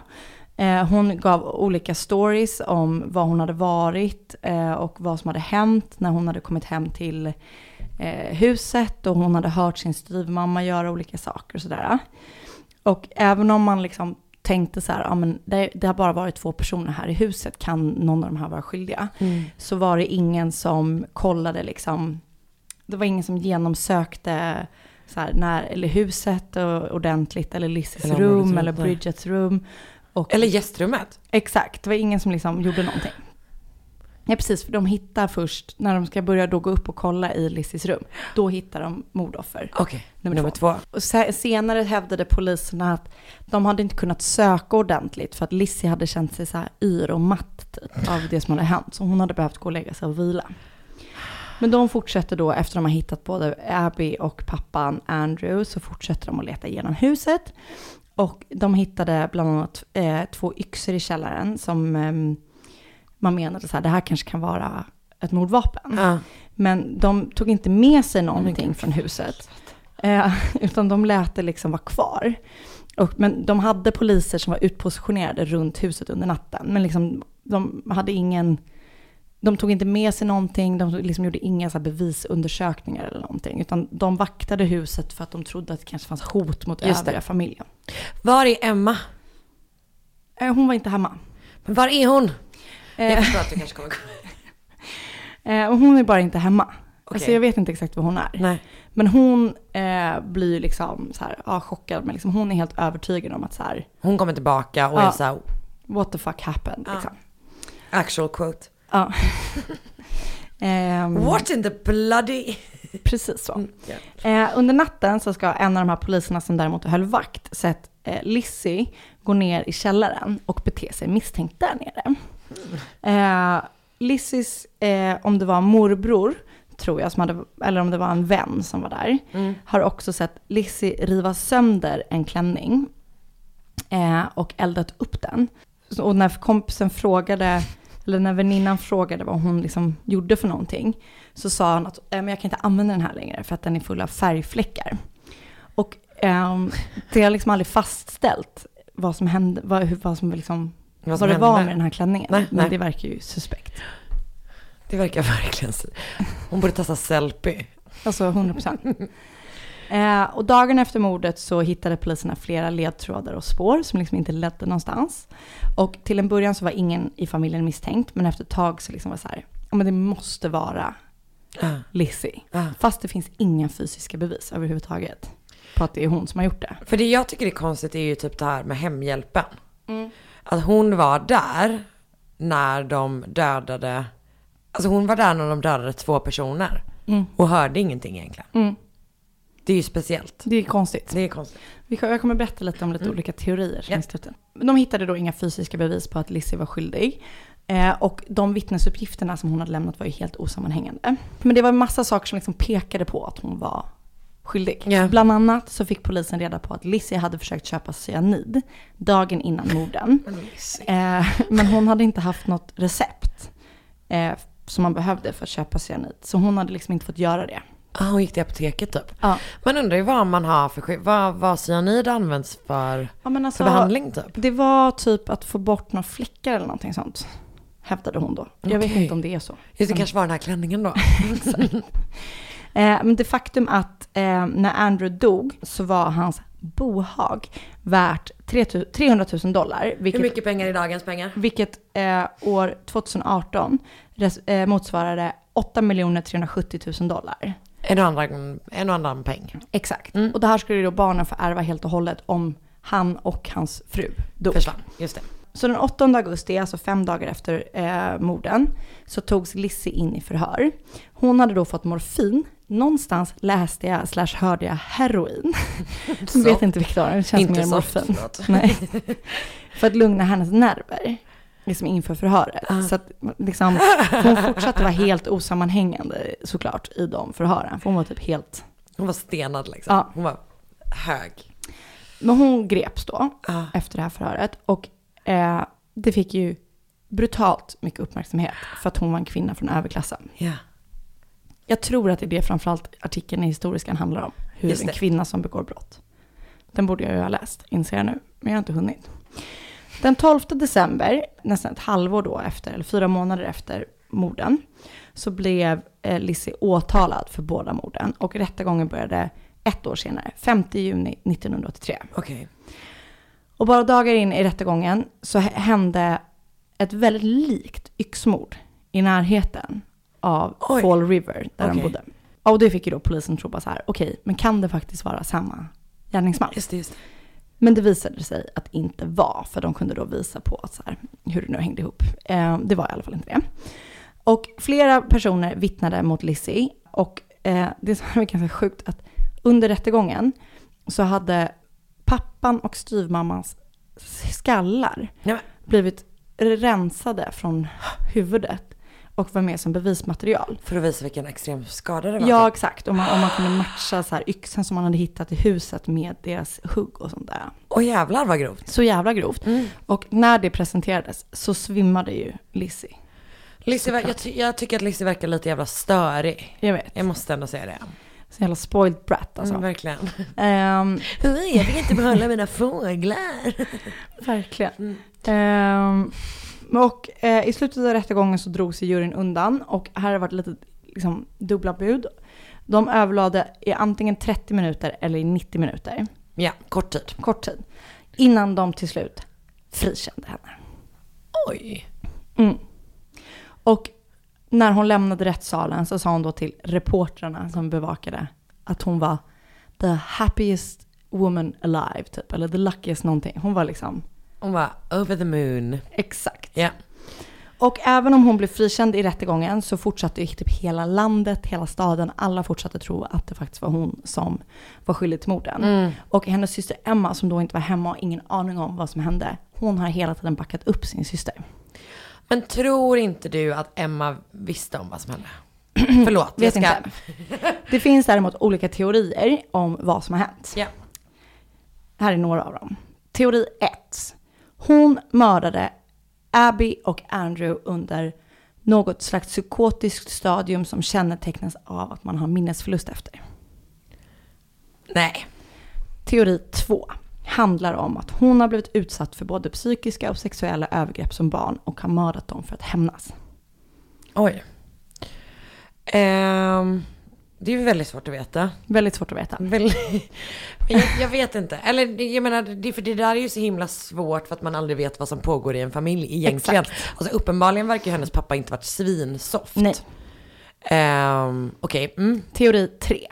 Speaker 6: Eh, hon gav olika stories om vad hon hade varit eh, och vad som hade hänt när hon hade kommit hem till eh, huset och hon hade hört sin styvmamma göra olika saker och sådär. Och även om man liksom tänkte så här, ja, men det, det har bara varit två personer här i huset, kan någon av de här vara skyldiga?
Speaker 10: Mm.
Speaker 6: Så var det ingen som kollade liksom, det var ingen som genomsökte så här, när, eller huset och, ordentligt, eller Lizzies
Speaker 5: Eller om
Speaker 6: rum,
Speaker 5: Bridgets
Speaker 6: eller
Speaker 5: rum, nej.
Speaker 6: Bridgets rum. Och,
Speaker 5: Eller gästrummet.
Speaker 6: Exakt, det var ingen som liksom gjorde någonting. Ja, precis, för de hittar först, när de ska börja då gå upp och kolla i Lizzies rum, då hittar de mordoffer.
Speaker 5: Okej,
Speaker 6: nummer,
Speaker 5: nummer
Speaker 6: två. Och se- senare hävdade poliserna att de hade inte kunnat söka ordentligt för att Lizzie hade känt sig så här yr och matt typ, av det som hade hänt. Så hon hade behövt gå och lägga sig och vila. Men de fortsätter då, efter de har hittat både Abby och pappan Andrew, så fortsätter de att leta igenom huset. Och de hittade bland annat eh, två yxor i källaren som ehm, man menade så här, det här kanske kan vara ett mordvapen. Men de tog inte med sig någonting från huset. Eh, utan de lät det liksom vara kvar. Och, men de hade poliser som var utpositionerade runt huset under natten. Men liksom, de hade ingen... De tog inte med sig någonting, de liksom gjorde inga så här bevisundersökningar eller någonting. Utan de vaktade huset för att de trodde att det kanske fanns hot mot
Speaker 5: Just det.
Speaker 6: övriga familjen.
Speaker 5: Var är Emma?
Speaker 6: Eh, Hon var inte hemma.
Speaker 5: Men var är hon?
Speaker 6: Eh.
Speaker 5: Jag förstår att du kanske kommer
Speaker 6: Eh, och hon är bara inte hemma. Alltså jag vet inte exakt vad hon är. Men hon eh, blir liksom så här, ja, chockad, men liksom, hon är helt övertygad om att så här,
Speaker 5: Hon kommer tillbaka och
Speaker 6: Ja.
Speaker 5: är så här,
Speaker 6: what the fuck happened?
Speaker 5: Ja.
Speaker 6: Liksom.
Speaker 5: actual quote.
Speaker 6: Ja. Ehm,
Speaker 5: What in the bloody... Mm,
Speaker 6: Precis så. Eh, under natten så ska en av de här poliserna som däremot höll vakt sett eh, Lizzie gå ner i källaren och bete sig misstänkt där nere.
Speaker 5: Mm.
Speaker 6: Eh, Lizzies, eh, om det var morbror, tror jag, som hade, eller om det var en vän som var där,
Speaker 10: Mm.
Speaker 6: har också sett Lizzie riva sönder en klänning eh, och eldat upp den. Så- Och när kompisen frågade, eller när väninnan frågade vad hon liksom gjorde för någonting, så sa hon att eh, men jag kan inte använda den här längre för att den är full av färgfläckar. Och ehm, det har liksom aldrig fastställt vad som hände, vad, hur- vad som liksom,
Speaker 5: Vad
Speaker 6: vad,
Speaker 5: som
Speaker 6: det var
Speaker 5: hände.
Speaker 6: med den här klänningen.
Speaker 5: Nej,
Speaker 6: men
Speaker 5: nej.
Speaker 6: det verkar ju suspekt.
Speaker 5: Det verkar verkligen... så. Hon borde testa selfie.
Speaker 6: Alltså 100 procent. Eh, och dagen efter mordet så hittade poliserna flera ledtrådar och spår som liksom inte ledde någonstans. Och till en början så var ingen i familjen misstänkt, men efter ett tag så liksom var det så här, ja men det måste vara
Speaker 5: Ah.
Speaker 6: Lizzie. Fast det finns inga fysiska bevis överhuvudtaget på att det är hon som har gjort det.
Speaker 5: För det jag tycker är konstigt är ju typ det här med hemhjälpen.
Speaker 6: Mm.
Speaker 5: Att hon var där när de dödade... Alltså hon var där när de dödade två personer.
Speaker 6: Mm.
Speaker 5: Och hörde ingenting egentligen.
Speaker 6: Mm.
Speaker 5: Det är ju speciellt.
Speaker 6: Det är konstigt.
Speaker 5: Det är konstigt. Mm.
Speaker 6: Vi kom- Jag kommer berätta lite om lite olika teorier som
Speaker 5: Ja.
Speaker 6: finns ute. De hittade då inga fysiska bevis på att Lizzie var skyldig. Eh, och de vittnesuppgifterna som hon hade lämnat var ju helt osammanhängande. Men det var en massa saker som liksom pekade på att hon var skyldig. Bland annat så fick polisen reda på att Lizzie hade försökt köpa cyanid dagen innan morden. Eh, men hon hade inte haft något recept eh, som man behövde för att köpa cyanid. Så hon hade liksom inte fått göra det.
Speaker 5: Ah, hon gick till apoteket typ. Man undrar ju vad man har för skydd. Vad, vad cyanid används för,
Speaker 6: Ja, men alltså,
Speaker 5: för behandling typ.
Speaker 6: Det var typ att få bort några fläckar eller någonting sånt. Hävdade hon då. Jag vet
Speaker 5: Okej.
Speaker 6: inte om det är så.
Speaker 5: Just det
Speaker 6: Men-
Speaker 5: kanske var den här klänningen då.
Speaker 6: Exakt. eh, men det faktum att eh, när Andrew dog så var hans bohag värt 3 000 300 000 dollar.
Speaker 5: Hur mycket pengar är dagens pengar?
Speaker 6: Vilket eh, år 2018 res, eh, motsvarade 8 370 000 dollar.
Speaker 5: En och annan, en och annan peng. Mm.
Speaker 6: Exakt. Och det här skulle ju då barnen få ärva helt och hållet om han och hans fru dog.
Speaker 5: Försvann, just det.
Speaker 6: Så den 8 augusti, alltså fem dagar efter eh, morden, så togs Lizzie in i förhör. Hon hade då fått morfin. Någonstans läste jag, slash hörde jag, heroin. Jag vet
Speaker 10: Soft.
Speaker 6: inte vilket det var, det känns
Speaker 10: Inte
Speaker 6: mer
Speaker 10: soft,
Speaker 6: morfin.
Speaker 10: förlåt.
Speaker 6: Nej. För att lugna hennes nerver, liksom inför förhöret. Så att liksom, hon fortsatte vara helt osammanhängande såklart i de förhören. För hon var typ helt
Speaker 5: Hon var stenad liksom.
Speaker 6: Ja.
Speaker 5: Hon var hög.
Speaker 6: Men hon greps då efter det här förhöret och eh, det fick ju brutalt mycket uppmärksamhet för att hon var en kvinna från överklassen.
Speaker 5: Ja.
Speaker 6: Jag tror att det är det framförallt artikeln i Historiskan handlar om, hur
Speaker 10: Just
Speaker 6: en
Speaker 10: det.
Speaker 6: kvinna som begår brott. Den borde jag ju ha läst, inser jag nu, men jag har inte hunnit. Den 12 december, nästan ett halvår då efter, eller fyra månader efter morden, så blev eh, Lizzie åtalad för båda morden och rättegången började ett år senare, 5 juni 1983.
Speaker 5: Okej.
Speaker 6: Och bara dagar in i rättegången så h- hände ett väldigt likt yxmord i närheten av Fall River där de
Speaker 10: Okej.
Speaker 6: bodde. Ja, Och det fick ju då polisen tro bara så här, okej, men kan det faktiskt vara samma gärningsman? Men det visade sig att det inte var, för de kunde då visa på att så här, hur det nu hängde ihop. Eh, det var i alla fall inte det. Och flera personer vittnade mot Lizzie och eh, det som var ganska sjukt att under rättegången så hade pappan och styvmammans skallar blivit rensade från huvudet och var med som bevismaterial.
Speaker 5: För att visa vilken extrem skada det var.
Speaker 6: Ja,
Speaker 5: typ.
Speaker 6: exakt. Om man, om man kunde matcha så här yxan som man hade hittat i huset med deras hugg och sånt där.
Speaker 5: Åh jävlar vad grovt. Mm.
Speaker 6: Så jävla grovt. Och när det presenterades så svimmade ju Lizzie.
Speaker 5: Lizzie, ver- jag, ty- jag tycker att Lizzie verkar lite jävla störig.
Speaker 6: Jag vet.
Speaker 5: Jag måste ändå säga det.
Speaker 6: Så jävla spoiled brat alltså.
Speaker 5: Mm, verkligen.
Speaker 6: Ehm,
Speaker 5: Nej, jag fick inte behålla mina fåglar.
Speaker 6: Verkligen.
Speaker 5: Mm.
Speaker 6: Ehm, och eh, i slutet av rättegången så drog sig juryn undan och här har det varit lite liksom, dubbla bud. De överlade i antingen 30 minuter eller i 90 minuter.
Speaker 5: Ja, kort tid.
Speaker 6: Kort tid. Innan de till slut frikände henne.
Speaker 5: Oj.
Speaker 6: Mm. Och när hon lämnade rättssalen så sa hon då till reportrarna som bevakade att hon var the happiest woman alive, typ. Eller the luckiest någonting. Hon var liksom...
Speaker 5: Hon var over the moon.
Speaker 6: Exakt.
Speaker 5: Ja.
Speaker 6: Och även om hon blev frikänd i rättegången så fortsatte ju typ hela landet, hela staden, alla fortsatte tro att det faktiskt var hon som var skyldig till morden.
Speaker 5: Mm.
Speaker 6: Och hennes syster Emma, som då inte var hemma och ingen aning om vad som hände, hon har hela tiden backat upp sin syster.
Speaker 5: Men tror inte du att Emma visste om vad som hände? Förlåt,
Speaker 6: Vet
Speaker 5: jag ska...
Speaker 6: inte. Det finns däremot olika teorier om vad som har hänt.
Speaker 5: Ja.
Speaker 6: Här är några av dem. Teori 1. Hon mördade Abby och Andrew under något slags psykotiskt stadium som kännetecknas av att man har minnesförlust efter.
Speaker 5: Nej.
Speaker 6: Teori 2 handlar om att hon har blivit utsatt för både psykiska och sexuella övergrepp som barn och har mördat dem för att hämnas.
Speaker 5: Oj. Ehm, det är ju väldigt svårt att veta.
Speaker 6: Väldigt svårt att veta.
Speaker 5: Väldigt... Men Jag, jag vet inte. Eller det- jag menar, det, för det där är ju så himla svårt för att man aldrig vet vad som pågår i en familj egentligen.
Speaker 6: Exakt.
Speaker 5: Alltså uppenbarligen verkar ju hennes pappa inte varit svinsoft.
Speaker 6: Nej.
Speaker 5: Ehm, Okej, mm.
Speaker 6: Teori 3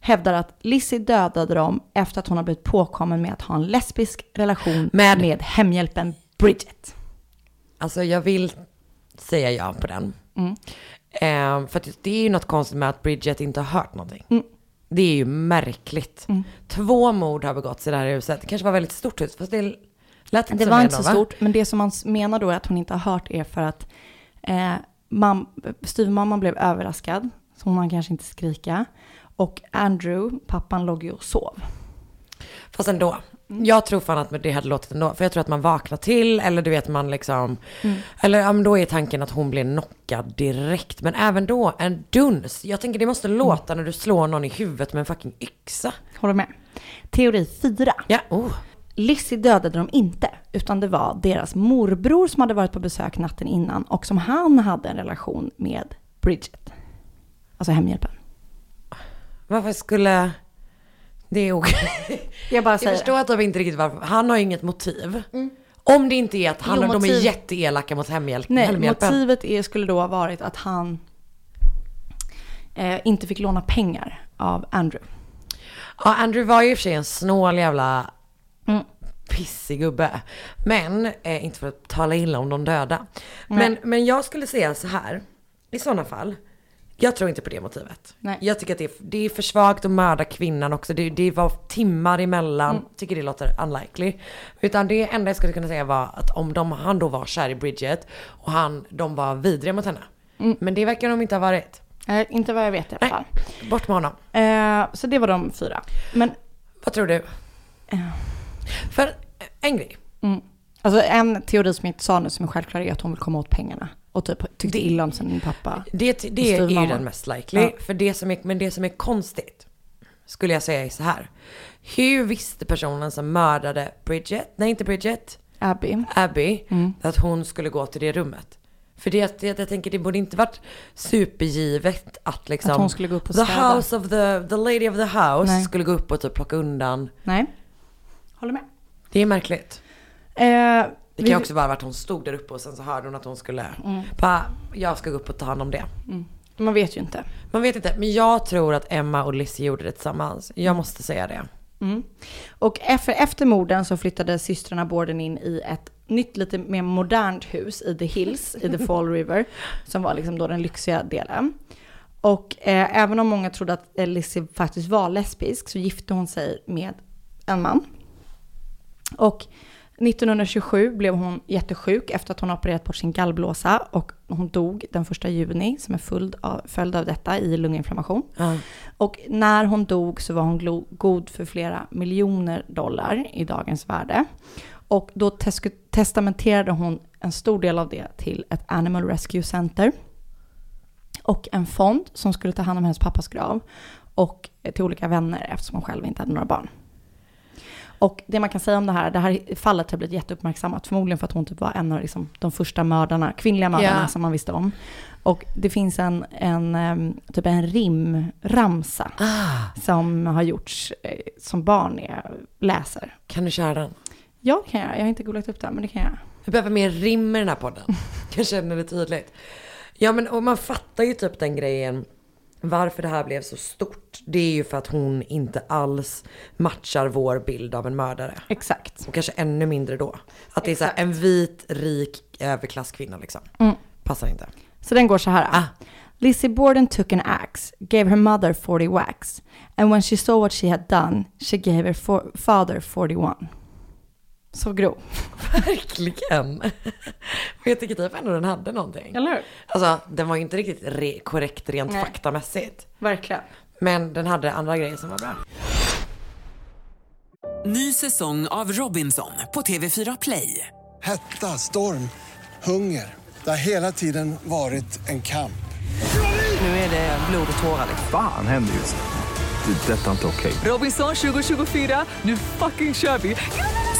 Speaker 6: hävdar att Lizzie dödade dem efter att hon har blivit påkommen med att ha en lesbisk relation med, hemhjälpen Bridget.
Speaker 5: Alltså jag vill säga ja på den.
Speaker 6: Mm.
Speaker 5: Ehm, för att det är ju något konstigt med att Bridget inte har hört någonting.
Speaker 6: Mm.
Speaker 5: Det är ju märkligt. Två mord har begåtts i det här huset. Det kanske var väldigt stort hus, fast det lät inte
Speaker 6: Det
Speaker 5: som
Speaker 6: var
Speaker 5: det
Speaker 6: inte så
Speaker 5: ändå, va?
Speaker 6: stort, men det som man menar då är att hon inte har hört är för att eh, mam- styvmamman blev överraskad, så hon hann kanske inte skrika. Och Andrew, pappan, låg ju och sov.
Speaker 5: Fast ändå.
Speaker 6: Mm.
Speaker 5: Jag tror fan att det hade låtit ändå. För jag tror att man vaknar till eller du vet man liksom.
Speaker 6: Mm.
Speaker 5: Eller ja, men då är tanken att hon blir knockad direkt. Men även då, en duns. Jag tänker det måste låta när du slår någon i huvudet med en fucking yxa.
Speaker 6: Håller med. Teori 4.
Speaker 5: Ja. Oh.
Speaker 6: Lizzie dödade dem inte, utan det var deras morbror som hade varit på besök natten innan och som han hade en relation med Bridget. Alltså hemhjälpen.
Speaker 5: Varför skulle... Det är okej.
Speaker 6: Jag bara
Speaker 5: Jag
Speaker 6: säger
Speaker 5: förstår typ inte riktigt varför. Han har ju inget motiv. Om det inte är att han,
Speaker 6: Jo,
Speaker 5: de är
Speaker 6: motiv-
Speaker 5: jätteelaka mot hemhjälp,
Speaker 6: Nej,
Speaker 5: hemhjälpen.
Speaker 6: motivet är, skulle då ha varit att han eh, inte fick låna pengar av Andrew.
Speaker 5: Ja, Andrew var ju i och för sig en snål jävla
Speaker 6: Mm.
Speaker 5: pissig gubbe. Men, eh, inte för att tala illa om de döda.
Speaker 1: Nej.
Speaker 5: Men, men jag skulle säga så här, i sådana fall. Jag tror inte på det motivet.
Speaker 1: Nej.
Speaker 5: Jag tycker att det är, det är för svagt att mörda kvinnan också. Det, det var timmar emellan.
Speaker 6: Mm.
Speaker 5: Tycker det låter unlikely. Utan det enda jag skulle kunna säga var att om de, han då var kär i Bridget och han, de var vidriga mot henne. Men det verkar de inte ha varit.
Speaker 6: Mm. Nej, inte vad jag vet i alla fall.
Speaker 5: Bort med honom.
Speaker 6: Eh, så det var de fyra. Men, Eh.
Speaker 5: Vad tror du? För eh, en grej.
Speaker 6: Mm. Alltså en teori som jag inte sa nu som är självklar är att hon vill komma åt pengarna. Och typ tyckte illa om sin pappa.
Speaker 5: Det,
Speaker 6: och
Speaker 5: det är ju
Speaker 6: styvmamma.
Speaker 5: den mest likely.
Speaker 6: Ja.
Speaker 5: För det som är, men det som är konstigt skulle jag säga är så här. Hur visste personen som mördade Bridget, nej inte Bridget,
Speaker 6: Abby,
Speaker 5: Abby
Speaker 6: Mm.
Speaker 5: att hon skulle gå till det rummet? För det, det, jag tänker det borde inte varit supergivet att liksom
Speaker 6: Att hon skulle gå upp och
Speaker 5: the
Speaker 6: städa.
Speaker 5: house of the, the lady of the house
Speaker 6: Nej.
Speaker 5: skulle gå upp och typ plocka undan.
Speaker 6: Nej. Håller med.
Speaker 5: Det är märkligt.
Speaker 6: Eh,
Speaker 5: Det kan ju
Speaker 6: vi-
Speaker 5: också vara att hon stod där uppe och sen så hörde hon att hon skulle,
Speaker 6: Mm.
Speaker 5: bara, jag ska gå upp och ta hand om det.
Speaker 6: Mm. Man vet ju inte.
Speaker 5: Man vet inte, men jag tror att Emma och Lizzie gjorde det tillsammans. Jag måste säga det.
Speaker 6: Mm. Och efter, efter morden så flyttade systrarna Borden in i ett nytt, lite mer modernt hus i The Hills, i The Fall River, som var liksom då den lyxiga delen. Och eh, även om många trodde att eh, Lizzie faktiskt var lesbisk så gifte hon sig med en man. Och 1927 blev hon jättesjuk efter att hon opererat bort sin gallblåsa och hon dog den 1 juni som en följd av, följd av detta i lunginflammation. Och när hon dog så var hon glo- god för flera miljoner dollar i dagens värde. Och då tes- testamenterade hon en stor del av det till ett Animal Rescue Center. Och en fond som skulle ta hand om hennes pappas grav. Och eh, till olika vänner eftersom hon själv inte hade några barn. Och det man kan säga om det här, det här fallet har blivit jätteuppmärksammat. Förmodligen för att hon typ var en av liksom de första mördarna, kvinnliga mördarna
Speaker 1: Ja.
Speaker 6: som man visste om. Och det finns en, en em, typ en rimramsa
Speaker 5: Ah.
Speaker 6: som har gjorts eh, som barn när jag läser.
Speaker 5: Kan du köra den?
Speaker 6: Ja, det kan jag. Jag har inte googlat upp den, men det kan jag.
Speaker 5: Vi behöver mer rim i den här podden. Jag känner det tydligt. Ja men och man fattar ju typ den grejen. Varför det här blev så stort. Det är ju för att hon inte alls matchar vår bild av en mördare.
Speaker 6: Exakt.
Speaker 5: Och kanske ännu mindre då. Att det är så här, en vit, rik överklasskvinna liksom.
Speaker 6: Mm.
Speaker 5: Passar inte.
Speaker 6: Så den går så här.
Speaker 5: Ah.
Speaker 6: Lizzie Borden took an axe, gave her mother 40 whacks, and when she saw what she had done, she gave her fo- father 41. Så grov.
Speaker 5: Verkligen. Men jag tycker typ ändå den hade någonting.
Speaker 6: Eller hur?
Speaker 5: Alltså den var ju inte riktigt re- korrekt rent
Speaker 6: Nej.
Speaker 5: faktamässigt.
Speaker 6: Verkligen.
Speaker 5: Men den hade andra grejer som var bra.
Speaker 7: Ny säsong av Robinson på TV4 Play.
Speaker 8: Hetta, storm, hunger. Det har hela tiden varit en kamp.
Speaker 7: Nu är det blod och tårar.
Speaker 9: Fan händer just det. Det är detta inte okej.
Speaker 7: Robinson 2024, nu fucking kör vi!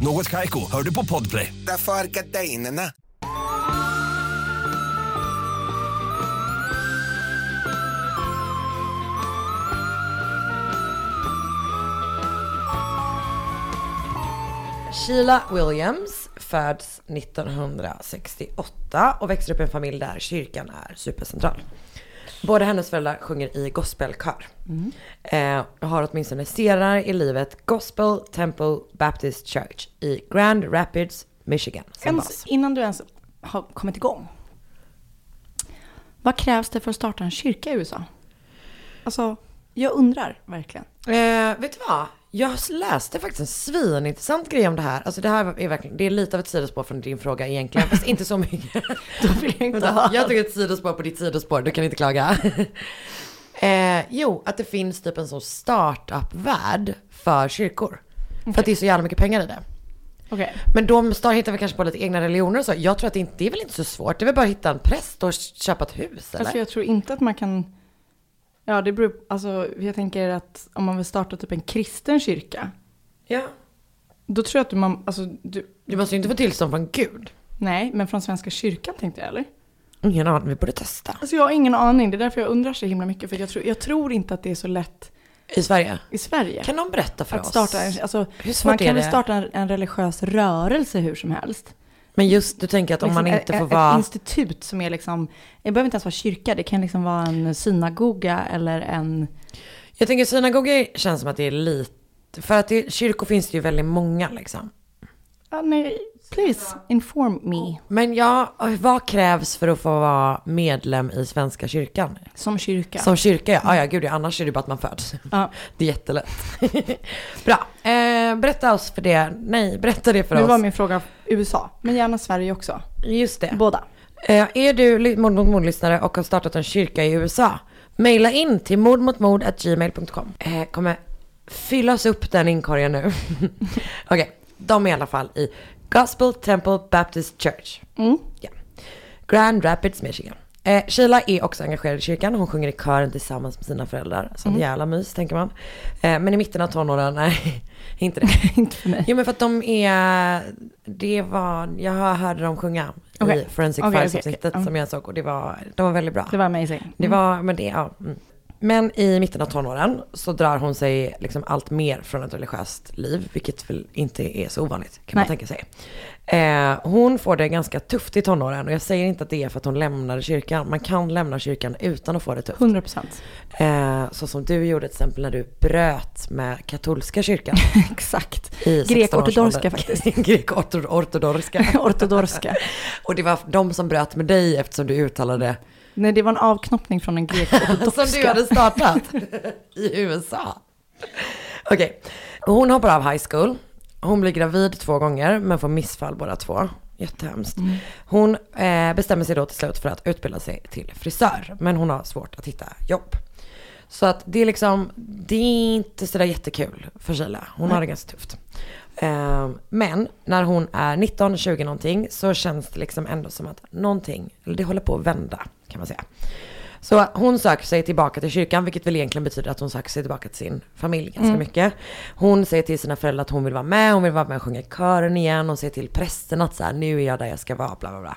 Speaker 11: Något Kaiko, hör du på podplay.
Speaker 12: Därför är gardinerna.
Speaker 5: Sheila Williams föds 1968 och växer upp i en familj där kyrkan är supercentral. Båda hennes föräldrar sjunger i gospelkör. Eh, och har åtminstone senare i livet Gospel Temple Baptist Church i Grand Rapids, Michigan. Som bas.
Speaker 6: Ens, innan du ens har kommit igång. Vad krävs det för att starta en kyrka i USA? Alltså, jag undrar verkligen.
Speaker 5: Eh, vet du vad? Jag läste faktiskt en svinintressant grej om det här. Alltså det här är verkligen, det är lite av ett sidospår från din fråga egentligen. Fast inte så mycket. Då vill jag
Speaker 6: inte ha.
Speaker 5: Jag tog ett sidospår på ditt sidospår, du kan inte klaga. eh, jo, att det finns typ en sån startup-värld för kyrkor. För att det är så jävla mycket pengar i det.
Speaker 6: Okej.
Speaker 5: Men de star hittar väl kanske på lite egna religioner och så. Jag tror att det, inte, det är väl inte så svårt. Det är väl bara att hitta en präst och köpa ett hus eller?
Speaker 6: Alltså jag tror inte att man kan... Ja, det beror... Alltså, jag tänker att om man vill starta typ en kristen kyrka.
Speaker 5: Ja.
Speaker 6: Då tror jag att du... Man, alltså, du...
Speaker 5: du måste ju inte få tillstånd från Gud.
Speaker 6: Nej, men från Svenska kyrkan tänkte jag, eller?
Speaker 5: Ingen aning, vi borde testa.
Speaker 6: Alltså jag har ingen aning, det är därför jag undrar så himla mycket. För jag tror, jag tror inte att det är så lätt
Speaker 5: I Sverige?
Speaker 6: i Sverige.
Speaker 5: Kan någon berätta för
Speaker 6: att
Speaker 5: oss?
Speaker 6: Starta en, alltså,
Speaker 5: Hur svårt
Speaker 6: man kan
Speaker 5: är
Speaker 6: väl
Speaker 5: det?
Speaker 6: starta en, en religiös rörelse hur som helst.
Speaker 5: Men just, du tänker att om man
Speaker 6: Liksom
Speaker 5: inte
Speaker 6: ett-
Speaker 5: får
Speaker 6: ett,
Speaker 5: vara...
Speaker 6: Ett institut som är liksom, det behöver inte ens vara kyrka, det kan liksom vara en synagoga eller en...
Speaker 5: Jag tänker synagogor känns som att det är lite... För att det, kyrkor finns det ju väldigt många liksom.
Speaker 6: Ja, nej, please, inform me.
Speaker 5: Men ja, vad krävs för att få vara medlem i Svenska kyrkan?
Speaker 6: Som kyrka.
Speaker 5: Som kyrka, ja. Ah, ja, gud ja, annars är det bara att man föds.
Speaker 6: Ja.
Speaker 5: Det är jättelätt. Bra. Eh, berätta oss för det. Nej, berätta det för
Speaker 6: nu
Speaker 5: oss.
Speaker 6: var min fråga USA, men gärna Sverige också.
Speaker 5: Just det.
Speaker 6: Båda.
Speaker 5: Eh, är du li- mord mot mord-lyssnare och har startat en kyrka i USA? Maila in till mordmotmord.gmail.com. Eh, kommer fyllas upp den inkorgen nu. Okej, de är i alla fall i Gospel Temple Baptist Church.
Speaker 6: Mm.
Speaker 5: Ja. Grand Rapids, Michigan. Eh, Sheila är också engagerad i kyrkan. Hon sjunger i kören tillsammans med sina föräldrar. Sånt
Speaker 6: Mm.
Speaker 5: jävla mys tänker man. Eh, men i mitten av tonåren, nej, inte det. inte
Speaker 6: för mig.
Speaker 5: Jo men för att de är, det var, jag hörde dem sjunga
Speaker 6: Okej.
Speaker 5: i Forensic
Speaker 6: Okej, okej,
Speaker 5: Files avsnittet
Speaker 6: okej. Mm.
Speaker 5: som jag såg och det var, de var väldigt bra.
Speaker 6: Det var amazing.
Speaker 5: Det var, men det, ja. Mm. Men i mitten av tonåren så drar hon sig liksom allt mer från ett religiöst liv, vilket väl inte är så ovanligt kan man
Speaker 6: Nej.
Speaker 5: tänka sig. Eh, hon får det ganska tufft i tonåren och jag säger inte att det är för att hon lämnade kyrkan. Man kan lämna kyrkan utan att få det tufft.
Speaker 6: 100 procent.
Speaker 5: Eh, så som du gjorde till exempel när du bröt med katolska kyrkan.
Speaker 6: Exakt.
Speaker 5: I 16-årsåldern.
Speaker 6: Grekortodorska faktiskt.
Speaker 5: Grekortodorska.
Speaker 6: Ortodorska.
Speaker 5: och det var de som bröt med dig eftersom du uttalade
Speaker 6: Nej, det var en avknoppning från en grek
Speaker 5: Som du hade startat i USA. Okej, hon hoppar av high school. Hon blir gravid två gånger men får missfall båda två. Jättehemskt.
Speaker 7: Mm.
Speaker 5: Hon eh, bestämmer sig då till slut för att utbilda sig till frisör. Men hon har svårt att hitta jobb. Så att det är liksom, det är inte sådär jättekul för Sheila. Hon har det ganska tufft.
Speaker 6: Ehm, men när hon är 19, 20 någonting så känns det liksom ändå som att någonting, eller det håller på att vända kan man säga. Så hon söker sig tillbaka till kyrkan, vilket väl egentligen betyder att hon söker sig tillbaka till sin familj ganska
Speaker 13: Mm.
Speaker 6: mycket. Hon säger till sina föräldrar att hon vill vara med, hon vill vara med och sjunga i kören igen. Hon säger till prästen att så här, nu är jag där jag ska vara, bla bla bla.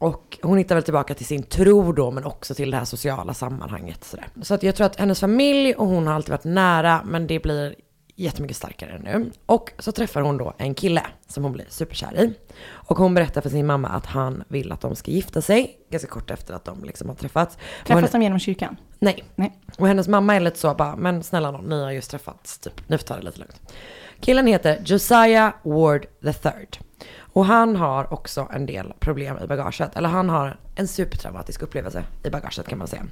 Speaker 6: Och hon hittar väl tillbaka till sin tro då, men också till det här sociala sammanhanget. Så, där. så att jag tror att hennes familj och hon har alltid varit nära, men det blir jättemycket starkare nu. Och så träffar hon då en kille som hon blir superkär i. Och hon berättar för sin mamma att han vill att de ska gifta sig, ganska kort efter att de liksom har träffats. Och hon-
Speaker 11: Träffas de genom kyrkan?
Speaker 6: Nej. Och hennes mamma är lite så bara, men snälla nån, ni har just träffats, typ. nu får ta det lite lugnt. Killen heter Josiah Ward III. Och han har också en del problem i bagaget. Eller han har en supertraumatisk upplevelse i bagaget kan man säga.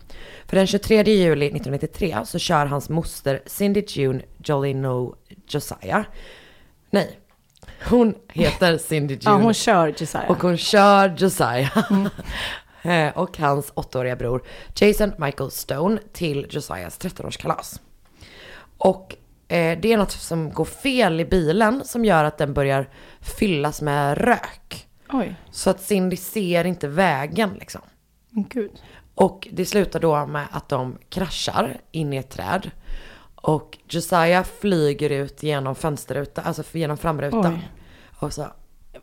Speaker 6: För den 23 juli 1993 så kör hans moster Cindy June Jolino Josiah. Nej, hon heter Cindy June.
Speaker 11: Ja, hon kör Mm. Josiah.
Speaker 6: Och hon kör Josiah. Eh, och hans åttaåriga bror Jason Michael Stone till Josiahs 13-årskalas. Och eh, det är något som går fel i bilen som gör att den börjar fyllas med rök.
Speaker 11: Oj.
Speaker 6: Så att Cindy ser inte vägen liksom.
Speaker 11: Men gud.
Speaker 6: Och det slutar då med att de kraschar in i ett träd. Och Josiah flyger ut genom fönsterrutan, alltså genom framrutan.
Speaker 11: Oj.
Speaker 6: Och så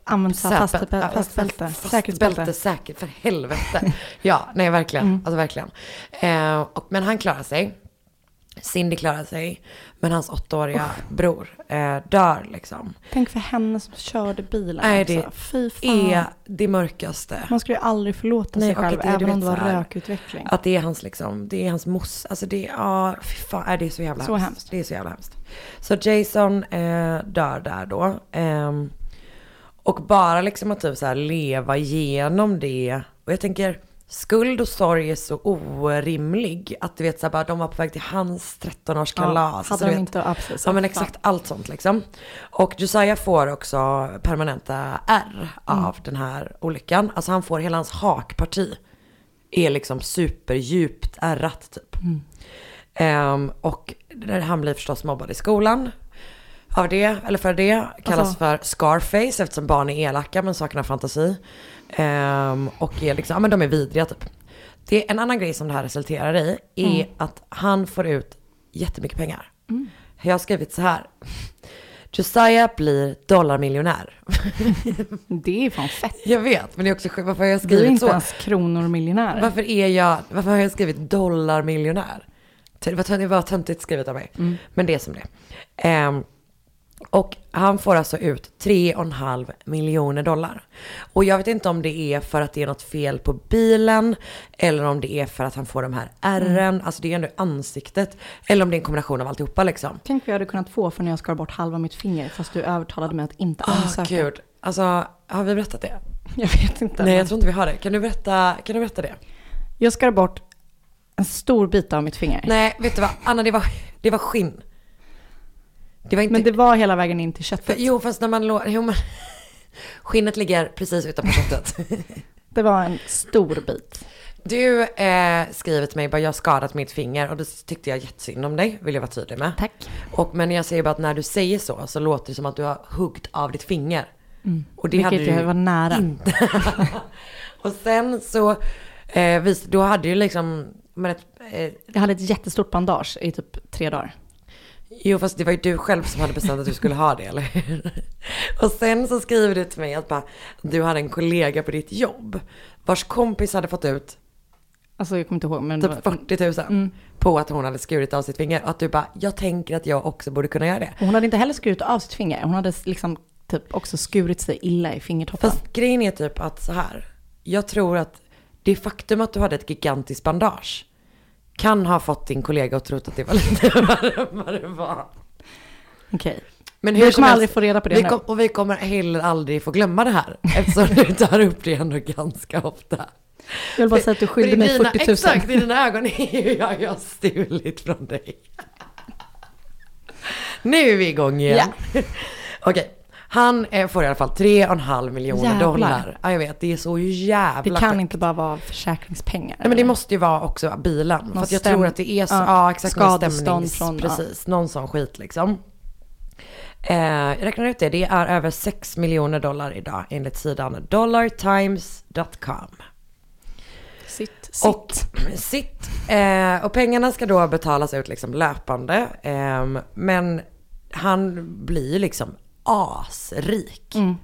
Speaker 11: Använd så här fast,
Speaker 6: Säpe- ja,
Speaker 11: fast bälte.
Speaker 6: fast
Speaker 11: Säkerhetsbälte.
Speaker 6: bälte, säkert, för helvete. ja, nej verkligen.
Speaker 11: Mm.
Speaker 6: Alltså verkligen. Eh, och, men han klarar sig. Cindy klarar sig. Men hans åttaåriga bror eh, dör liksom.
Speaker 11: Tänk för henne som körde bilen
Speaker 6: Nej,
Speaker 11: också.
Speaker 6: det
Speaker 11: Fy fan.
Speaker 6: är det mörkaste.
Speaker 11: Man skulle ju aldrig förlåta sig
Speaker 6: och att
Speaker 11: själv,
Speaker 6: är, du
Speaker 11: även om det
Speaker 6: vet,
Speaker 11: var
Speaker 6: så här,
Speaker 11: rökutveckling.
Speaker 6: Att det är hans liksom, det är hans mos, alltså det är, ja, fy fan, nej, det är så jävla
Speaker 11: Så
Speaker 6: hemskt. Det är så jävla hemskt. Så Jason eh, dör där då. Ehm, och bara liksom att typ så här leva igenom det. Och jag tänker, skuld och sorg är så orimlig. Att du vet så här, bara, de var på väg till hans 13-årskalas.
Speaker 11: Ja, hade
Speaker 6: så
Speaker 11: de
Speaker 6: du vet,
Speaker 11: inte- ja, precis.
Speaker 6: Ja men
Speaker 11: Fan.
Speaker 6: exakt allt sånt liksom. Och Josiah får också permanenta R av den här olyckan. Alltså han får hela hans hakparti. Är liksom superdjupt ärrat typ. Ehm, och där han blir förstås mobbad i skolan. Av det, eller för det, kallas
Speaker 13: Alltså-
Speaker 6: för Scarface eftersom barn är elaka men saknar fantasi. Ehm, och är liksom, ja men de är vidriga typ. Det, en annan grej som det här resulterar i är
Speaker 13: Mm.
Speaker 6: att han får ut jättemycket pengar.
Speaker 11: Mm.
Speaker 6: Jag har skrivit så här. Josiah blir dollarmiljonär.
Speaker 11: det är fan fett.
Speaker 6: Jag vet, men det är också sjukt. Varför har jag
Speaker 11: Du är
Speaker 6: skrivit
Speaker 11: inte
Speaker 6: så?
Speaker 11: ens kronor miljonär.
Speaker 6: Varför, är jag, varför har jag skrivit dollarmiljonär? Det var tön- det var töntigt skrivet av mig.
Speaker 11: Mm.
Speaker 6: Men det är som det är. Ehm, och han får alltså ut 3,5 miljoner dollar. Och jag vet inte om det är för att det är något fel på bilen eller om det är för att han får de här ärren. Alltså det är ändå ansiktet. Eller om det är en kombination av alltihopa liksom.
Speaker 11: Tänk vad jag hade kunnat få för när jag skar bort halva mitt finger fast du övertalade mig att inte
Speaker 6: Åh
Speaker 11: ansöka.
Speaker 6: Ah, gud, alltså har vi berättat det?
Speaker 11: Jag vet inte.
Speaker 6: Nej
Speaker 11: men-
Speaker 6: jag tror inte vi har det. Kan du berätta, kan du berätta det?
Speaker 11: Jag skar bort en stor bit av mitt finger.
Speaker 6: Nej vet du vad, Anna det var, det var skinn. Det var inte...
Speaker 11: Men det var hela vägen in till köttet.
Speaker 6: Jo fast när man låter, jo men skinnet ligger precis utanför köttet.
Speaker 11: Det var en stor bit.
Speaker 6: Du eh, skriver till mig bara jag har skadat mitt finger och då tyckte jag jättesynd om dig, vill jag vara tydlig med.
Speaker 11: Tack.
Speaker 6: Och, men jag säger bara att när du säger så så låter det som att du har huggit av ditt finger.
Speaker 11: Mm.
Speaker 6: Och det
Speaker 11: Vilket
Speaker 6: hade du
Speaker 11: jag var nära.
Speaker 6: Inte. och sen så, eh, vis, då hade du liksom, men ett, eh,
Speaker 11: Jag hade ett jättestort bandage i typ tre dagar.
Speaker 6: Jo fast det var ju du själv som hade bestämt att du skulle ha det eller hur? Och sen så skriver du till mig att bara, du hade en kollega på ditt jobb vars kompis hade fått ut
Speaker 11: Alltså jag kommer inte ihåg men... Mm. det
Speaker 6: typ
Speaker 11: var-
Speaker 6: 40 000 på att hon hade skurit av sitt finger. Och att du bara, jag tänker att jag också borde kunna göra det.
Speaker 11: Och Hon hade inte heller skurit av sitt finger. Hon hade liksom typ också skurit sig illa i fingertoppen.
Speaker 6: Fast grejen är typ att så här, jag tror att det faktum att du hade ett gigantiskt bandage kan ha fått din kollega att tro att det var lite värre än vad det var.
Speaker 11: Okej.
Speaker 6: Men
Speaker 11: Vi
Speaker 6: hur
Speaker 11: kommer
Speaker 6: som helst,
Speaker 11: aldrig få reda på det
Speaker 6: vi
Speaker 11: nu.
Speaker 6: kom, Och vi kommer heller aldrig få glömma det här. Eftersom du tar upp det ändå ganska ofta.
Speaker 11: Jag vill bara säga att du skyllde
Speaker 6: För i
Speaker 11: mig
Speaker 6: dina-
Speaker 11: 40 000.
Speaker 6: Exakt, i dina ögon är ju jag, jag har stulit från dig. Nu är vi igång igen. Okej, han eh, får i alla fall 3,5 miljoner
Speaker 11: Jävlar.
Speaker 6: dollar. Ja, jag vet, det är så
Speaker 11: Det
Speaker 6: jävla
Speaker 11: kan
Speaker 6: sjukt.
Speaker 11: inte bara vara försäkringspengar.
Speaker 6: Nej, men det måste ju vara också bilen. För
Speaker 11: Någon
Speaker 6: att jag
Speaker 11: stäm-
Speaker 6: tror att det är så,
Speaker 11: ja,
Speaker 6: ja, exakt, någon
Speaker 11: skadestånd
Speaker 6: stämnings-
Speaker 11: från- ja.
Speaker 6: precis, någon sån skit liksom. Eh, jag räknar ut det, det är över 6 miljoner dollar idag enligt sidan dollartimes.com.
Speaker 14: Sitt,
Speaker 6: sitt. Och, sitt. Eh, och pengarna ska då betalas ut liksom löpande. Ehm, men han blir ju liksom asrik.
Speaker 5: Mm.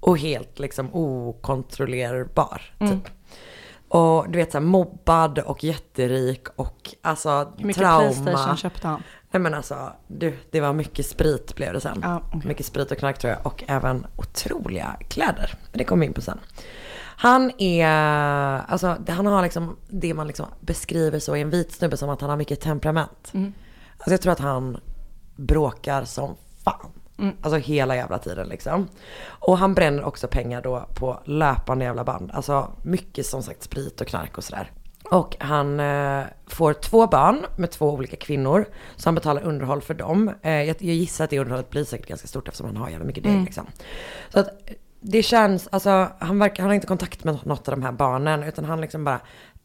Speaker 6: Och helt liksom okontrollerbar. Typ.
Speaker 5: Mm.
Speaker 6: Och du vet så här, mobbad och jätterik och alltså
Speaker 5: Hur mycket
Speaker 6: trauma.
Speaker 5: Playstation köpte han?
Speaker 6: Nej men alltså, du, det var mycket sprit blev det sen.
Speaker 5: Ja, okej.
Speaker 6: Mycket sprit och knark tror jag. Och även otroliga kläder. Men det kommer vi in på sen. Han är, alltså han har liksom det man liksom beskriver så i en vit snubbe som att han har mycket temperament.
Speaker 5: Mm.
Speaker 6: Alltså jag tror att han bråkar som fan.
Speaker 5: Mm.
Speaker 6: Alltså hela jävla tiden liksom. Och han bränner också pengar då på löpande jävla band. Alltså mycket som sagt sprit och knark och sådär. Och han eh, får två barn med två olika kvinnor. Så han betalar underhåll för dem. Eh, jag, jag gissar att det underhållet blir säkert ganska stort eftersom han har jävla mycket deg
Speaker 15: Mm.
Speaker 6: liksom. Så att det känns, alltså han, verkar, han har inte kontakt med något av de här barnen. Utan han liksom bara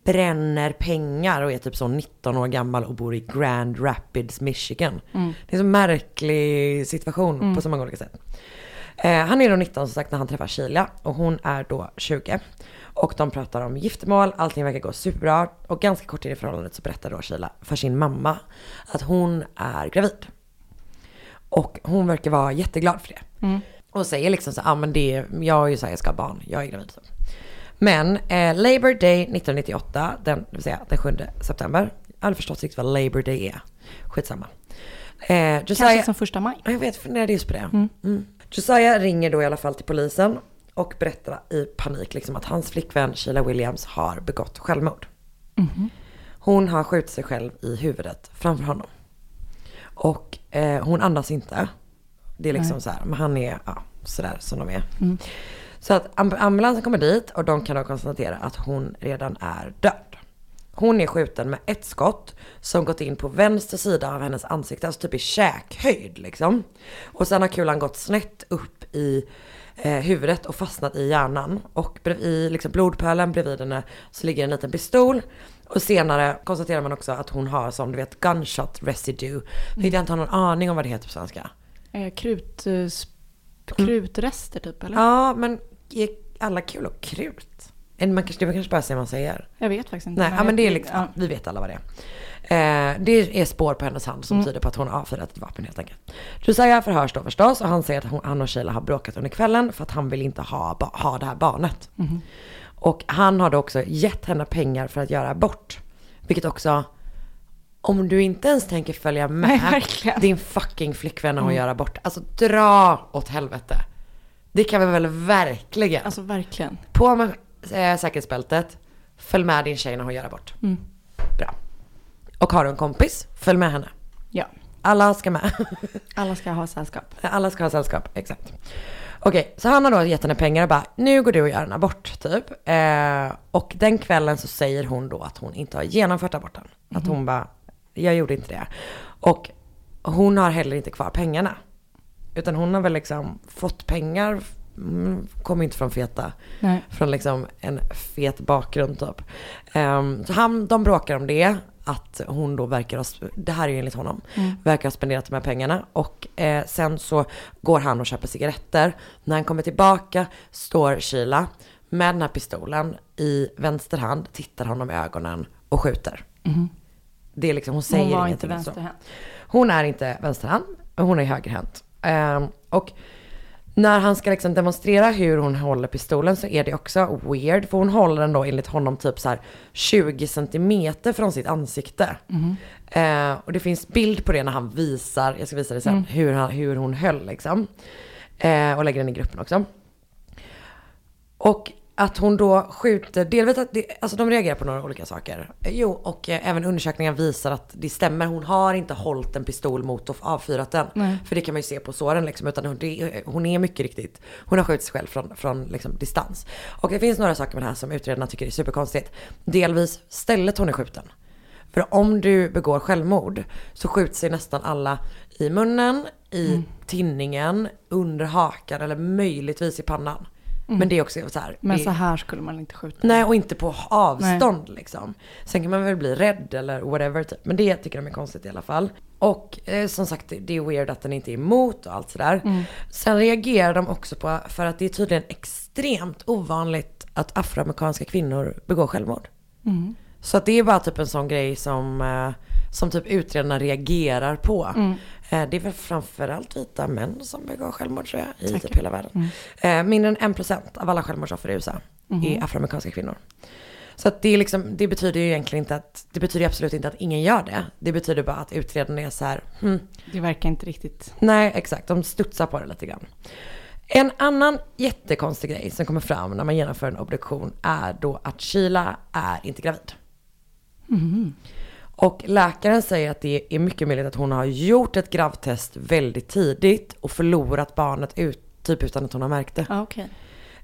Speaker 6: bränner pengar och är typ så 19 år gammal och bor i Grand Rapids, Michigan.
Speaker 15: Mm.
Speaker 6: Det är en så märklig situation
Speaker 15: Mm.
Speaker 6: på så många olika sätt. Eh, han är då 19 som sagt när han träffar Sheila och hon är då 20. Och de pratar om giftermål, allting verkar gå superbra. Och ganska kort in i förhållandet så berättar då Sheila för sin mamma att hon är gravid. Och hon verkar vara jätteglad för det.
Speaker 15: Mm.
Speaker 6: Och säger liksom så, ja ah, men det, är- jag är ju så här, jag ska ha barn, jag är gravid. Så. Men eh, Labor Day 1998, den, det vill säga den 7 september. Jag hade förstått riktigt vad Labor Day är. Skitsamma. Eh,
Speaker 5: Kanske som första maj.
Speaker 6: Jag vet, funderade just på det. Mm. Josiah ringer då i alla fall till polisen och berättar i panik liksom att hans flickvän Sheila Williams har begått självmord.
Speaker 5: Mm-hmm.
Speaker 6: Hon har skjutit sig själv i huvudet framför honom. Och eh, hon andas inte. Det är liksom
Speaker 15: Nej.
Speaker 6: så här, men han är ja, sådär som de är.
Speaker 15: Mm.
Speaker 6: Så att amb- ambulansen kommer dit och de kan då konstatera att hon redan är död. Hon är skjuten med ett skott som gått in på vänster sida av hennes ansikte, alltså typ i käkhöjd liksom. Och sen har kulan gått snett upp i eh, huvudet och fastnat i hjärnan. Och brev- i liksom, blodpölen bredvid henne så ligger en liten pistol. Och senare konstaterar man också att hon har som du vet gunshot residue. Vilket jag inte har någon aning om vad det heter på svenska.
Speaker 5: Eh, Krut, eh, sp- krutrester typ eller?
Speaker 6: Mm. Ja, men är alla kul och krut? Eller man kanske, det kanske bara säger man säger.
Speaker 5: Jag vet faktiskt inte.
Speaker 6: Nej,
Speaker 5: men
Speaker 6: ja, men
Speaker 5: jag-
Speaker 6: det är liksom, vi vet alla vad det är. Eh, det är spår på hennes hand som
Speaker 5: Mm.
Speaker 6: tyder på att hon har avfyrat ett vapen helt enkelt. Josiah förhörs då förstås och han säger att hon, han och Sheila har bråkat under kvällen för att han vill inte ha, ba- ha det här barnet.
Speaker 15: Mhm.
Speaker 6: Och han har då också gett henne pengar för att göra abort. Vilket också, om du inte ens tänker följa med
Speaker 15: Nej, verkligen.
Speaker 6: din fucking flickvän när hon
Speaker 15: Mm.
Speaker 6: gör abort. Alltså dra åt helvete. Det kan vi väl verkligen.
Speaker 5: Alltså verkligen.
Speaker 6: På med eh, säkerhetsbältet, följ med din tjej när hon gör abort.
Speaker 5: Mm.
Speaker 6: Bra. Och har du en kompis, följ med henne.
Speaker 5: Ja.
Speaker 6: Alla ska med.
Speaker 5: Alla ska ha sällskap.
Speaker 6: Alla ska ha sällskap, exakt. Okej, så han har då gett henne pengar och bara, nu går du och gör en abort typ. Eh, och den kvällen så säger hon då att hon inte har genomfört aborten. Att hon
Speaker 15: Mhm.
Speaker 6: bara, jag gjorde inte det. Och hon har heller inte kvar pengarna. Utan hon har väl liksom fått pengar, mm, kommer inte från feta,
Speaker 15: Nej.
Speaker 6: från liksom en fet bakgrund typ. Ehm, så han, de bråkar om det, att hon då verkar ha, sp- det här är ju enligt honom,
Speaker 15: Mm.
Speaker 6: verkar ha spenderat de här pengarna. Och eh, sen så går han och köper cigaretter. När han kommer tillbaka står Sheila med den här pistolen i vänster hand, tittar honom i ögonen och skjuter. Det är liksom, hon säger
Speaker 5: Hon var inte
Speaker 6: ingenting. så.
Speaker 5: vänsterhänt.
Speaker 6: Hon är inte vänsterhand, hon är högerhänt. Ehm, och när han ska liksom demonstrera hur hon håller pistolen så är det också weird. För hon håller den då enligt honom typ så här 20 centimeter från sitt ansikte.
Speaker 5: Mhm.
Speaker 6: Eh, och det finns bild på det när han visar, jag ska visa det sen,
Speaker 15: Mm.
Speaker 6: hur, han, hur hon höll liksom. Eh, och lägger den i gruppen också. Och att hon då skjuter, delvis att det, alltså de reagerar på några olika saker. Eh, Jo, och eh, även undersökningar visar att det stämmer. Hon har inte hållit en pistol mot och avfyrat den.
Speaker 15: Nej.
Speaker 6: För det kan man ju se på såren liksom. Utan hon, det, hon är mycket riktigt, hon har skjutit sig själv från, från liksom distans. Och det finns några saker med det här som utredarna tycker är superkonstigt. Delvis stället hon är skjuten. För om du begår självmord så skjuts sig nästan alla i
Speaker 16: Mm.
Speaker 6: munnen, i tinningen, under hakan eller möjligtvis i pannan. Men det är också så här.
Speaker 16: Mm. Men
Speaker 6: det-
Speaker 16: så här skulle man inte skjuta.
Speaker 6: Nej, och inte på avstånd liksom. Sen kan man väl bli rädd eller whatever. Typ. Men det tycker de är konstigt i alla fall. Och eh, som sagt, det- det är weird att den inte är emot och allt sådär.
Speaker 5: Mm.
Speaker 6: Sen reagerar de också på, för att det är tydligen extremt ovanligt att afroamerikanska kvinnor begår självmord.
Speaker 16: Mm.
Speaker 6: Så att det är bara typ en sån grej som, eh, som typ utredarna reagerar på.
Speaker 5: Mm.
Speaker 6: Eh, Det är väl framförallt vita män som begår självmord tror jag, i
Speaker 5: Säkert.
Speaker 6: typ hela världen.
Speaker 16: Mm.
Speaker 6: Eh, Mindre än 1% av alla självmordsoffer i USA
Speaker 5: Mhm.
Speaker 6: är afroamerikanska kvinnor. Så att det, är liksom, det betyder ju egentligen inte att, det betyder absolut inte att ingen gör det. Det betyder bara att utredarna är så här, hmm,
Speaker 16: Det verkar inte riktigt.
Speaker 6: Nej, exakt. De studsar på det lite grann. En annan jättekonstig grej som kommer fram när man genomför en obduktion är då att Sheila är inte gravid. Och läkaren säger att det är mycket möjligt att hon har gjort ett gravtest väldigt tidigt och förlorat barnet ut, typ utan att hon har märkt det.
Speaker 16: Ah, okay.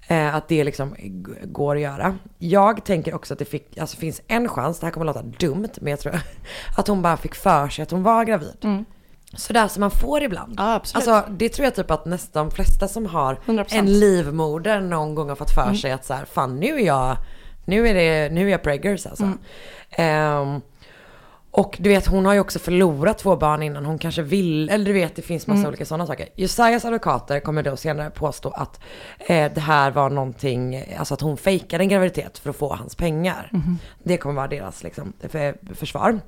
Speaker 6: Eh, att det liksom g- går att göra. Jag tänker också att det fick, alltså finns en chans, det här kommer låta dumt, men jag tror att hon bara fick för sig att hon var gravid. Sådär som man får ibland.
Speaker 16: Mm. Ja, absolut.
Speaker 6: Alltså det tror jag typ att nästan de flesta som har
Speaker 16: 100%.
Speaker 6: en livmoder någon gång har fått för
Speaker 16: Mm.
Speaker 6: sig att så här, fan nu är jag, nu är det, nu är jag preggers alltså.
Speaker 5: Mm.
Speaker 6: Ehm, och du vet hon har ju också förlorat två barn innan hon kanske vill, eller du vet det finns massa
Speaker 5: Mm.
Speaker 6: olika sådana saker. Jesajas advokater kommer då senare påstå att eh, det här var någonting, alltså att hon fejkade en graviditet för att få hans pengar.
Speaker 5: Mhm.
Speaker 6: Det kommer vara deras liksom, för, försvar.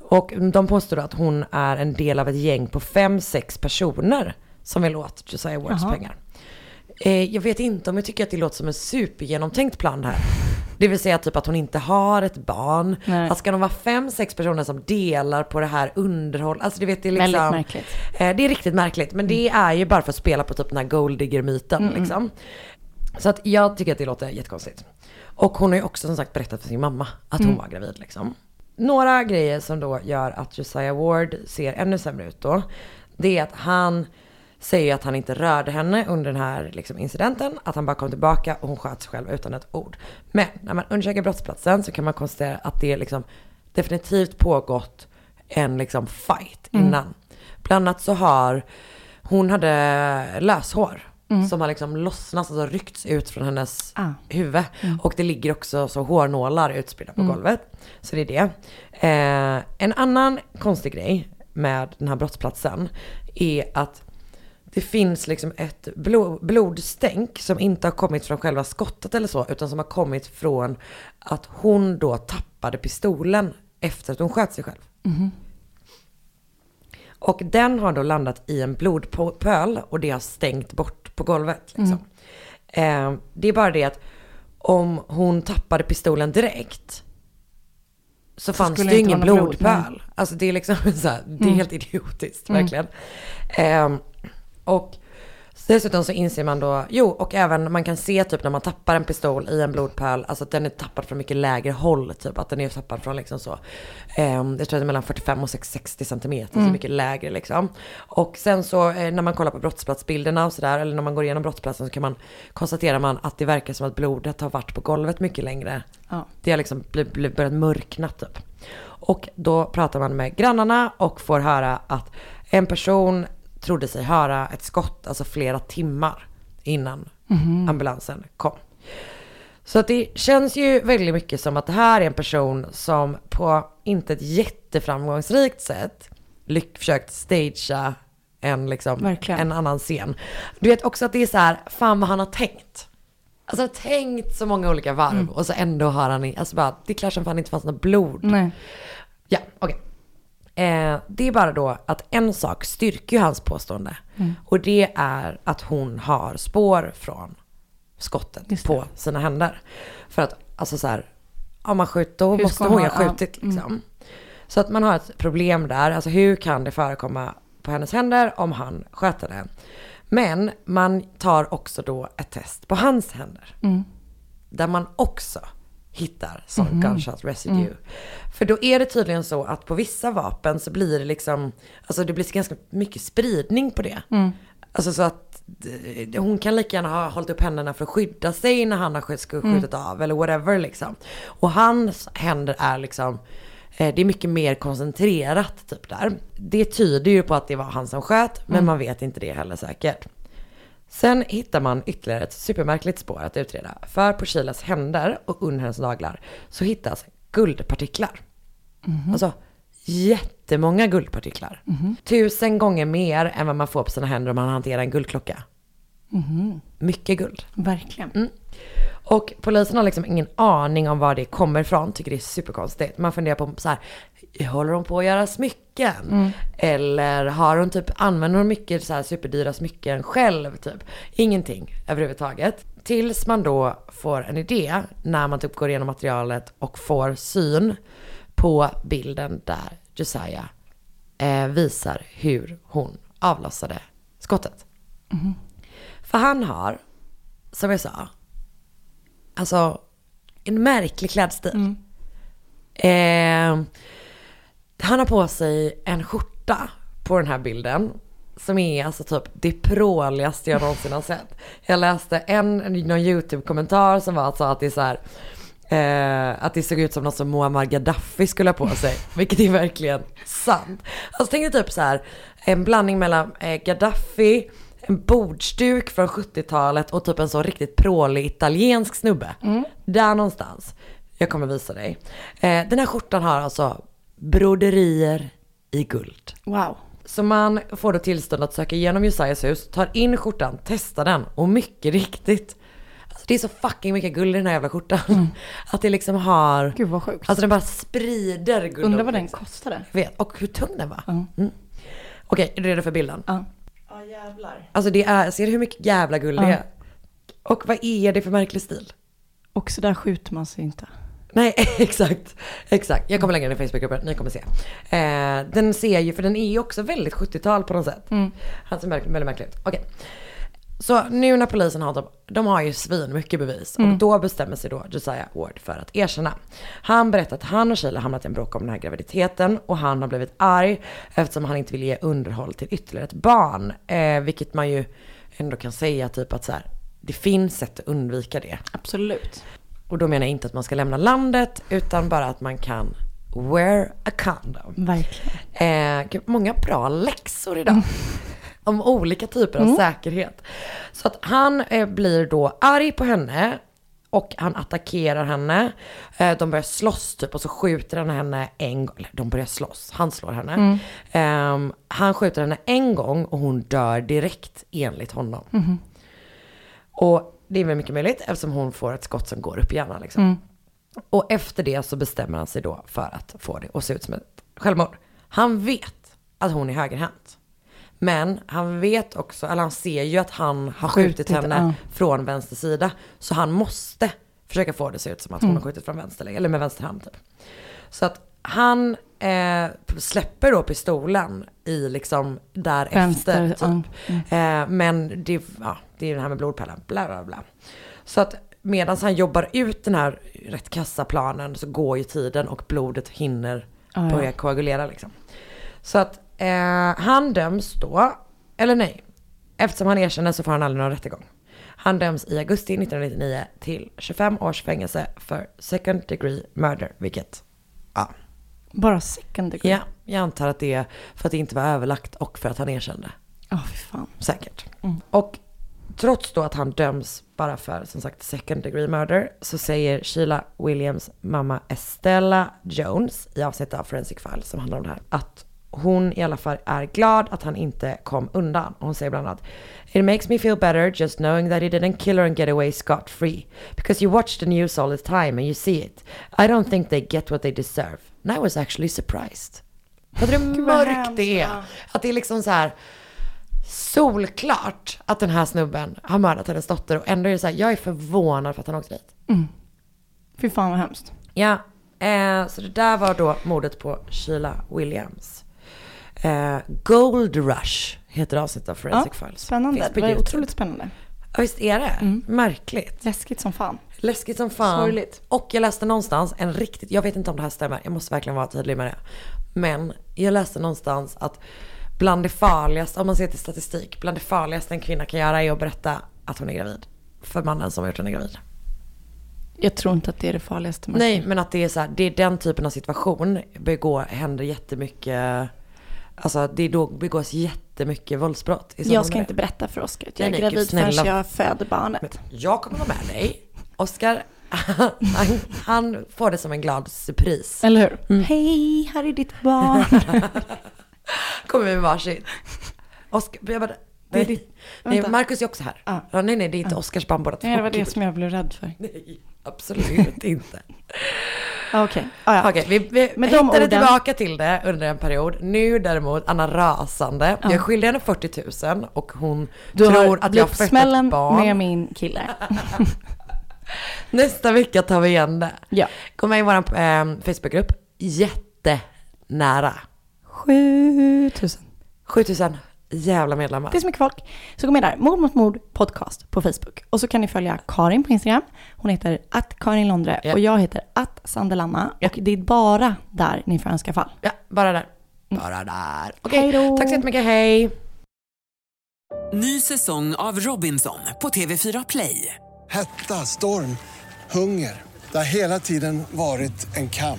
Speaker 6: Och de påstår då att hon är en del av ett gäng på fem, sex personer som vill åt Josiah Wards
Speaker 5: Jaha.
Speaker 6: pengar. Eh, jag vet inte om jag tycker att det låter som en supergenomtänkt plan här. Det vill säga typ att hon inte har ett barn. Alltså
Speaker 5: Nej.
Speaker 6: Att ska de vara fem, sex personer som delar på det här underhåll. Alltså du vet det är liksom.
Speaker 5: Väldigt märkligt.
Speaker 6: Eh, det är riktigt märkligt. Men det är ju bara för att spela på typ den här golddigger-myten
Speaker 5: Mm, mm.
Speaker 6: liksom. Så att jag tycker att det låter jättekonstigt. Och hon har ju också som sagt berättat för sin mamma att hon
Speaker 5: Mm.
Speaker 6: var gravid liksom. Några grejer som då gör att Josiah Ward ser ännu sämre ut då. Det är att han säger att han inte rörde henne under den här liksom, incidenten. Att han bara kom tillbaka och hon sköt sig själv utan ett ord. Men när man undersöker brottsplatsen så kan man konstatera att det liksom definitivt pågått en liksom fight
Speaker 5: Mm.
Speaker 6: innan. Bland annat så har hon hade löshår.
Speaker 5: Mm.
Speaker 6: Som har liksom lossnat, alltså ryckts ut från hennes
Speaker 5: Ah.
Speaker 6: huvud.
Speaker 5: Mm.
Speaker 6: Och det ligger också så hårnålar utspridda på
Speaker 5: Mm.
Speaker 6: golvet. Så det är det. Eh, en annan konstig grej med den här brottsplatsen är att det finns liksom ett blo- blodstänk som inte har kommit från själva skottet eller så, utan som har kommit från att hon då tappade pistolen efter att hon sköt sig själv.
Speaker 5: Mhm.
Speaker 6: Och den har då landat i en blodpöl och det har stängt bort på golvet. Liksom.
Speaker 5: Mm.
Speaker 6: Eh, det är bara det att om hon tappade pistolen direkt så,
Speaker 5: Så
Speaker 6: fanns
Speaker 5: skulle
Speaker 6: det ju
Speaker 5: det inte
Speaker 6: ingen
Speaker 5: vara någon blod,
Speaker 6: blodpöl.
Speaker 5: nej.
Speaker 6: alltså det är liksom så här, det är
Speaker 5: Mm.
Speaker 6: helt idiotiskt
Speaker 5: Mm.
Speaker 6: verkligen. Eh, och dessutom så inser man då, jo och även man kan se typ när man tappar en pistol i en blodpöl, alltså att den är tappad från mycket lägre håll typ, att den är tappad från liksom så, eh, jag tror att det är mellan 45 och 60 centimeter, så
Speaker 5: Mm.
Speaker 6: mycket lägre liksom. Och sen så eh, när man kollar på brottsplatsbilderna och sådär, eller när man går igenom brottsplatsen så kan man, konstaterar man att det verkar som att blodet har varit på golvet mycket längre.
Speaker 16: Ja.
Speaker 6: Det har liksom bli- bli- börjat mörkna typ. Och då pratar man med grannarna och får höra att en person trodde sig höra ett skott, alltså flera timmar innan
Speaker 5: Mhm.
Speaker 6: ambulansen kom. Så att det känns ju väldigt mycket som att det här är en person som på inte ett jätteframgångsrikt sätt lyck- försökt stagea en, liksom,
Speaker 5: Verkligen.
Speaker 6: en annan scen. Du vet också att det är så här, fan vad han har tänkt. Alltså tänkt så många olika varv
Speaker 5: Mm.
Speaker 6: och så ändå har han, i- alltså bara, det är klart som fan inte fanns något blod.
Speaker 16: Nej.
Speaker 6: Ja, okej. Eh, det är bara då att en sak styrker ju hans påstående.
Speaker 5: Mm.
Speaker 6: Och det är att hon har spår från skottet på sina händer. För att, alltså så här, om man skjuter, då
Speaker 5: Hur
Speaker 6: måste
Speaker 5: ska
Speaker 6: hon
Speaker 5: man-
Speaker 6: ju ha
Speaker 5: ja,
Speaker 6: skjutit
Speaker 5: mm.
Speaker 6: liksom. Så att man har ett problem där, alltså hur kan det förekomma på hennes händer om han sköt henne? Men man tar också då ett test på hans händer.
Speaker 5: Mm.
Speaker 6: Där man också hittar sån
Speaker 5: Mhm.
Speaker 6: gunshot residue.
Speaker 5: Mm.
Speaker 6: För då är det tydligen så att på vissa vapen så blir det liksom, alltså det blir ganska mycket spridning på det.
Speaker 5: Mm.
Speaker 6: Alltså så att eh, hon kan lika gärna ha hållit upp händerna för att skydda sig när han har skjut- skjutit
Speaker 5: Mm.
Speaker 6: av eller whatever liksom. Och hans händer är liksom, eh, det är mycket mer koncentrerat typ där. Det tyder ju på att det var han som sköt, men
Speaker 5: Mm.
Speaker 6: man vet inte det heller säkert. Sen hittar man ytterligare ett supermärkligt spår att utreda. För på Chilas händer och under hennes naglar så hittas guldpartiklar. Alltså jättemånga guldpartiklar. Tusen gånger mer än vad man får på sina händer om man hanterar en guldklocka.
Speaker 5: Mhm.
Speaker 6: Mycket guld.
Speaker 5: Verkligen.
Speaker 6: Och polisen har liksom ingen aning om var det kommer ifrån, tycker det är superkonstigt. Man funderar på så här, håller hon på att göra smycken?
Speaker 17: Mm.
Speaker 6: Eller har hon typ, använder hon mycket så här superdyra smycken själv typ? Ingenting överhuvudtaget. Tills man då får en idé när man typ går igenom materialet och får syn på bilden där Josiah eh, visar hur hon avlossade skottet.
Speaker 5: Mhm.
Speaker 6: För han har, som jag sa, alltså en märklig klädstil. Eh, han har på sig en skjorta på den här bilden. Som är alltså typ det pråligaste jag någonsin har sett. Jag läste en, någon YouTube-kommentar som var alltså att det är så här. Eh, att det såg ut som något som Muammar Gaddafi skulle ha på sig. Vilket är verkligen sant. Alltså tänk dig typ så här. En blandning mellan eh, Gaddafi, en bordsduk från 70-talet och typ en så riktigt prålig italiensk snubbe. Där någonstans. Jag kommer visa dig. Eh, den här skjortan har alltså broderier i guld.
Speaker 5: Wow.
Speaker 6: Så man får då tillstånd att söka igenom Josias hus, tar in skjortan, testar den och mycket riktigt. Alltså det är så fucking mycket guld i den här jävla skjortan. Att det liksom har...
Speaker 5: Mm. Gud vad sjukt.
Speaker 6: Alltså den bara sprider guld.
Speaker 5: Undrar vad den kostade.
Speaker 6: Jag vet. Och hur tung den var. Mm. Okej, är du redo för bilden?
Speaker 5: Ja. Ja jävlar.
Speaker 6: Alltså det är, ser du hur mycket jävla guld det
Speaker 5: Ja.
Speaker 6: är? Och vad är det för märklig stil?
Speaker 5: Och så där skjuter man sig inte.
Speaker 6: Nej, exakt. Exakt. Jag kommer lägga den i Facebookgruppen, ni kommer se. Eh, den ser ju, för den är ju också väldigt 70-tal på något sätt. Han ser märk- väldigt märklig ut. Okej. Så nu när polisen har, de, de har ju svin mycket bevis och
Speaker 18: Mm.
Speaker 6: då bestämmer sig då Josiah Ward för att erkänna. Han berättar att han och Sheila hamnat i en bråk om den här graviditeten och han har blivit arg eftersom han inte vill ge underhåll till ytterligare ett barn. Eh, vilket man ju ändå kan säga typ att så här, det finns sätt att undvika det.
Speaker 5: Absolut.
Speaker 6: Och då menar jag inte att man ska lämna landet utan bara att man kan wear a condom.
Speaker 5: Verkligen.
Speaker 6: Eh, gud, många bra läxor idag. Om olika typer av
Speaker 18: Mm.
Speaker 6: säkerhet. Så att han eh, blir då arg på henne och han attackerar henne. Eh, de börjar slåss typ och så skjuter han henne en gång. Eller de börjar slåss, han slår henne.
Speaker 18: Mm.
Speaker 6: Ehm, han skjuter henne en gång och hon dör direkt enligt honom.
Speaker 18: Mhm.
Speaker 6: Och det är väl mycket möjligt eftersom hon får ett skott som går upp i hjärnan. Liksom.
Speaker 18: Mm.
Speaker 6: Och efter det så bestämmer han sig då för att få det att se ut som ett självmord. Han vet att hon är högerhänt. Men han vet också, eller han ser ju att han har skjutit,
Speaker 18: Skjutit,
Speaker 6: henne
Speaker 18: ja.
Speaker 6: från vänster sida. Så han måste försöka få det att se ut som att hon
Speaker 18: Mm.
Speaker 6: har skjutit från vänster, eller med vänster hand typ. Så att han eh, släpper då pistolen i liksom därefter.
Speaker 5: Vänster,
Speaker 6: typ.
Speaker 5: ja.
Speaker 6: Eh, men det, ja, det är det här med blodpärlan, bla bla bla. Så att medan han jobbar ut den här rätt kassa planen så går ju tiden och blodet hinner
Speaker 18: Ja, ja.
Speaker 6: börja koagulera liksom. Så att eh, han döms då, eller nej, eftersom han erkänner så får han aldrig någon rättegång. Han döms i augusti 1999 till 25 års fängelse för second degree murder, vilket ja.
Speaker 5: Bara second degree?
Speaker 6: Ja, jag antar att det är för att det inte var överlagt och för att han erkände.
Speaker 5: Ja, fy fan.
Speaker 6: Säkert.
Speaker 18: Mm.
Speaker 6: Och trots då att han döms bara för som sagt second degree murder så säger Sheila Williams mamma Estella Jones i avsnittet av Forensic Files som handlar om det här att hon i alla fall är glad att han inte kom undan. Hon säger bland annat It makes me feel better just knowing that he didn't kill her and get away scot free because you watch the news all the time and you see it. I don't think they get what they deserve and I was actually surprised. Fattar du hur
Speaker 18: vad
Speaker 6: mörkt
Speaker 18: hemskt,
Speaker 6: det är?
Speaker 18: ja.
Speaker 6: Att det är liksom så här solklart att den här snubben har mördat hennes dotter och ändå är det så här, jag är förvånad för att han åkte dit.
Speaker 5: Fy fan vad hemskt.
Speaker 6: Ja, eh, så det där var då mordet på Sheila Williams. Eh, Gold Rush heter avsnittet av Forensic
Speaker 5: ja,
Speaker 6: Files.
Speaker 5: Spännande.
Speaker 6: Finns på
Speaker 5: Det var
Speaker 6: YouTube.
Speaker 5: otroligt Mm. spännande.
Speaker 6: Ja, visst är det? Märkligt.
Speaker 5: Läskigt som fan.
Speaker 6: Läskigt som fan.
Speaker 5: Sorgligt.
Speaker 6: Och jag läste någonstans en riktigt, jag vet inte om det här stämmer, jag måste verkligen vara tydlig med det. Men jag läste någonstans att bland det farligaste, om man ser till statistik, bland det farligaste en kvinna kan göra är att berätta att hon är gravid. För mannen som har gjort henne gravid.
Speaker 5: Jag tror inte att det är det farligaste man
Speaker 6: Nej, men att det är så här, det är den typen av situation begår, händer jättemycket alltså det är då begås jättemycket våldsbrott. i samband
Speaker 5: Jag ska
Speaker 6: med
Speaker 5: inte
Speaker 6: det.
Speaker 5: berätta för Oskar att jag
Speaker 6: Nej,
Speaker 5: är
Speaker 6: nej,
Speaker 5: gravid
Speaker 6: gud,
Speaker 5: förrän
Speaker 6: snälla.
Speaker 5: jag föder barnet.
Speaker 6: Jag kommer vara med dig. Oskar, han, han får det som en glad surpris.
Speaker 5: Eller hur? Hej, här är ditt barn.
Speaker 6: Kommer vi med varsin. Oskar, jag bara,
Speaker 5: Det är
Speaker 6: nej,
Speaker 5: ditt-
Speaker 6: nej,
Speaker 5: vänta. Ah.
Speaker 6: Marcus är också här. Ja, nej, nej, det är inte Oskars barn båda två.
Speaker 5: Nej, det var det
Speaker 6: Gud.
Speaker 5: som jag blev rädd för.
Speaker 6: Nej, absolut inte.
Speaker 5: Ah, Okej, ah, ja.
Speaker 6: Okej, vi, vi
Speaker 5: Med de
Speaker 6: hittade
Speaker 5: orden-
Speaker 6: tillbaka till det under en period. Nu däremot, Anna rasande. Jag skyllde henne 40 000 och hon
Speaker 5: Ah. du
Speaker 6: tror
Speaker 5: har
Speaker 6: att jag har fött ett
Speaker 5: blixtsmällen
Speaker 6: barn.
Speaker 5: med min kille.
Speaker 6: Nästa vecka tar vi igen det.
Speaker 5: Ja.
Speaker 6: Kom med i vår eh, Facebookgrupp. Jättenära.
Speaker 5: 7000.
Speaker 6: 7000 jävla medlemmar.
Speaker 5: Det är så mycket folk. Så gå med där. Mord mot mord podcast på Facebook. Och så kan ni följa Karin på Instagram. Hon heter att Karin Londre
Speaker 6: Ja.
Speaker 5: och jag heter att Sandelanna. Och det är bara där ni får önska fall.
Speaker 6: Ja, bara där.
Speaker 5: Mm.
Speaker 6: Bara där. Okej, tack så jättemycket. Hej.
Speaker 7: Ny säsong av Robinson på TV4 Play.
Speaker 12: Hetta, storm, hunger. Det har hela tiden varit en kamp.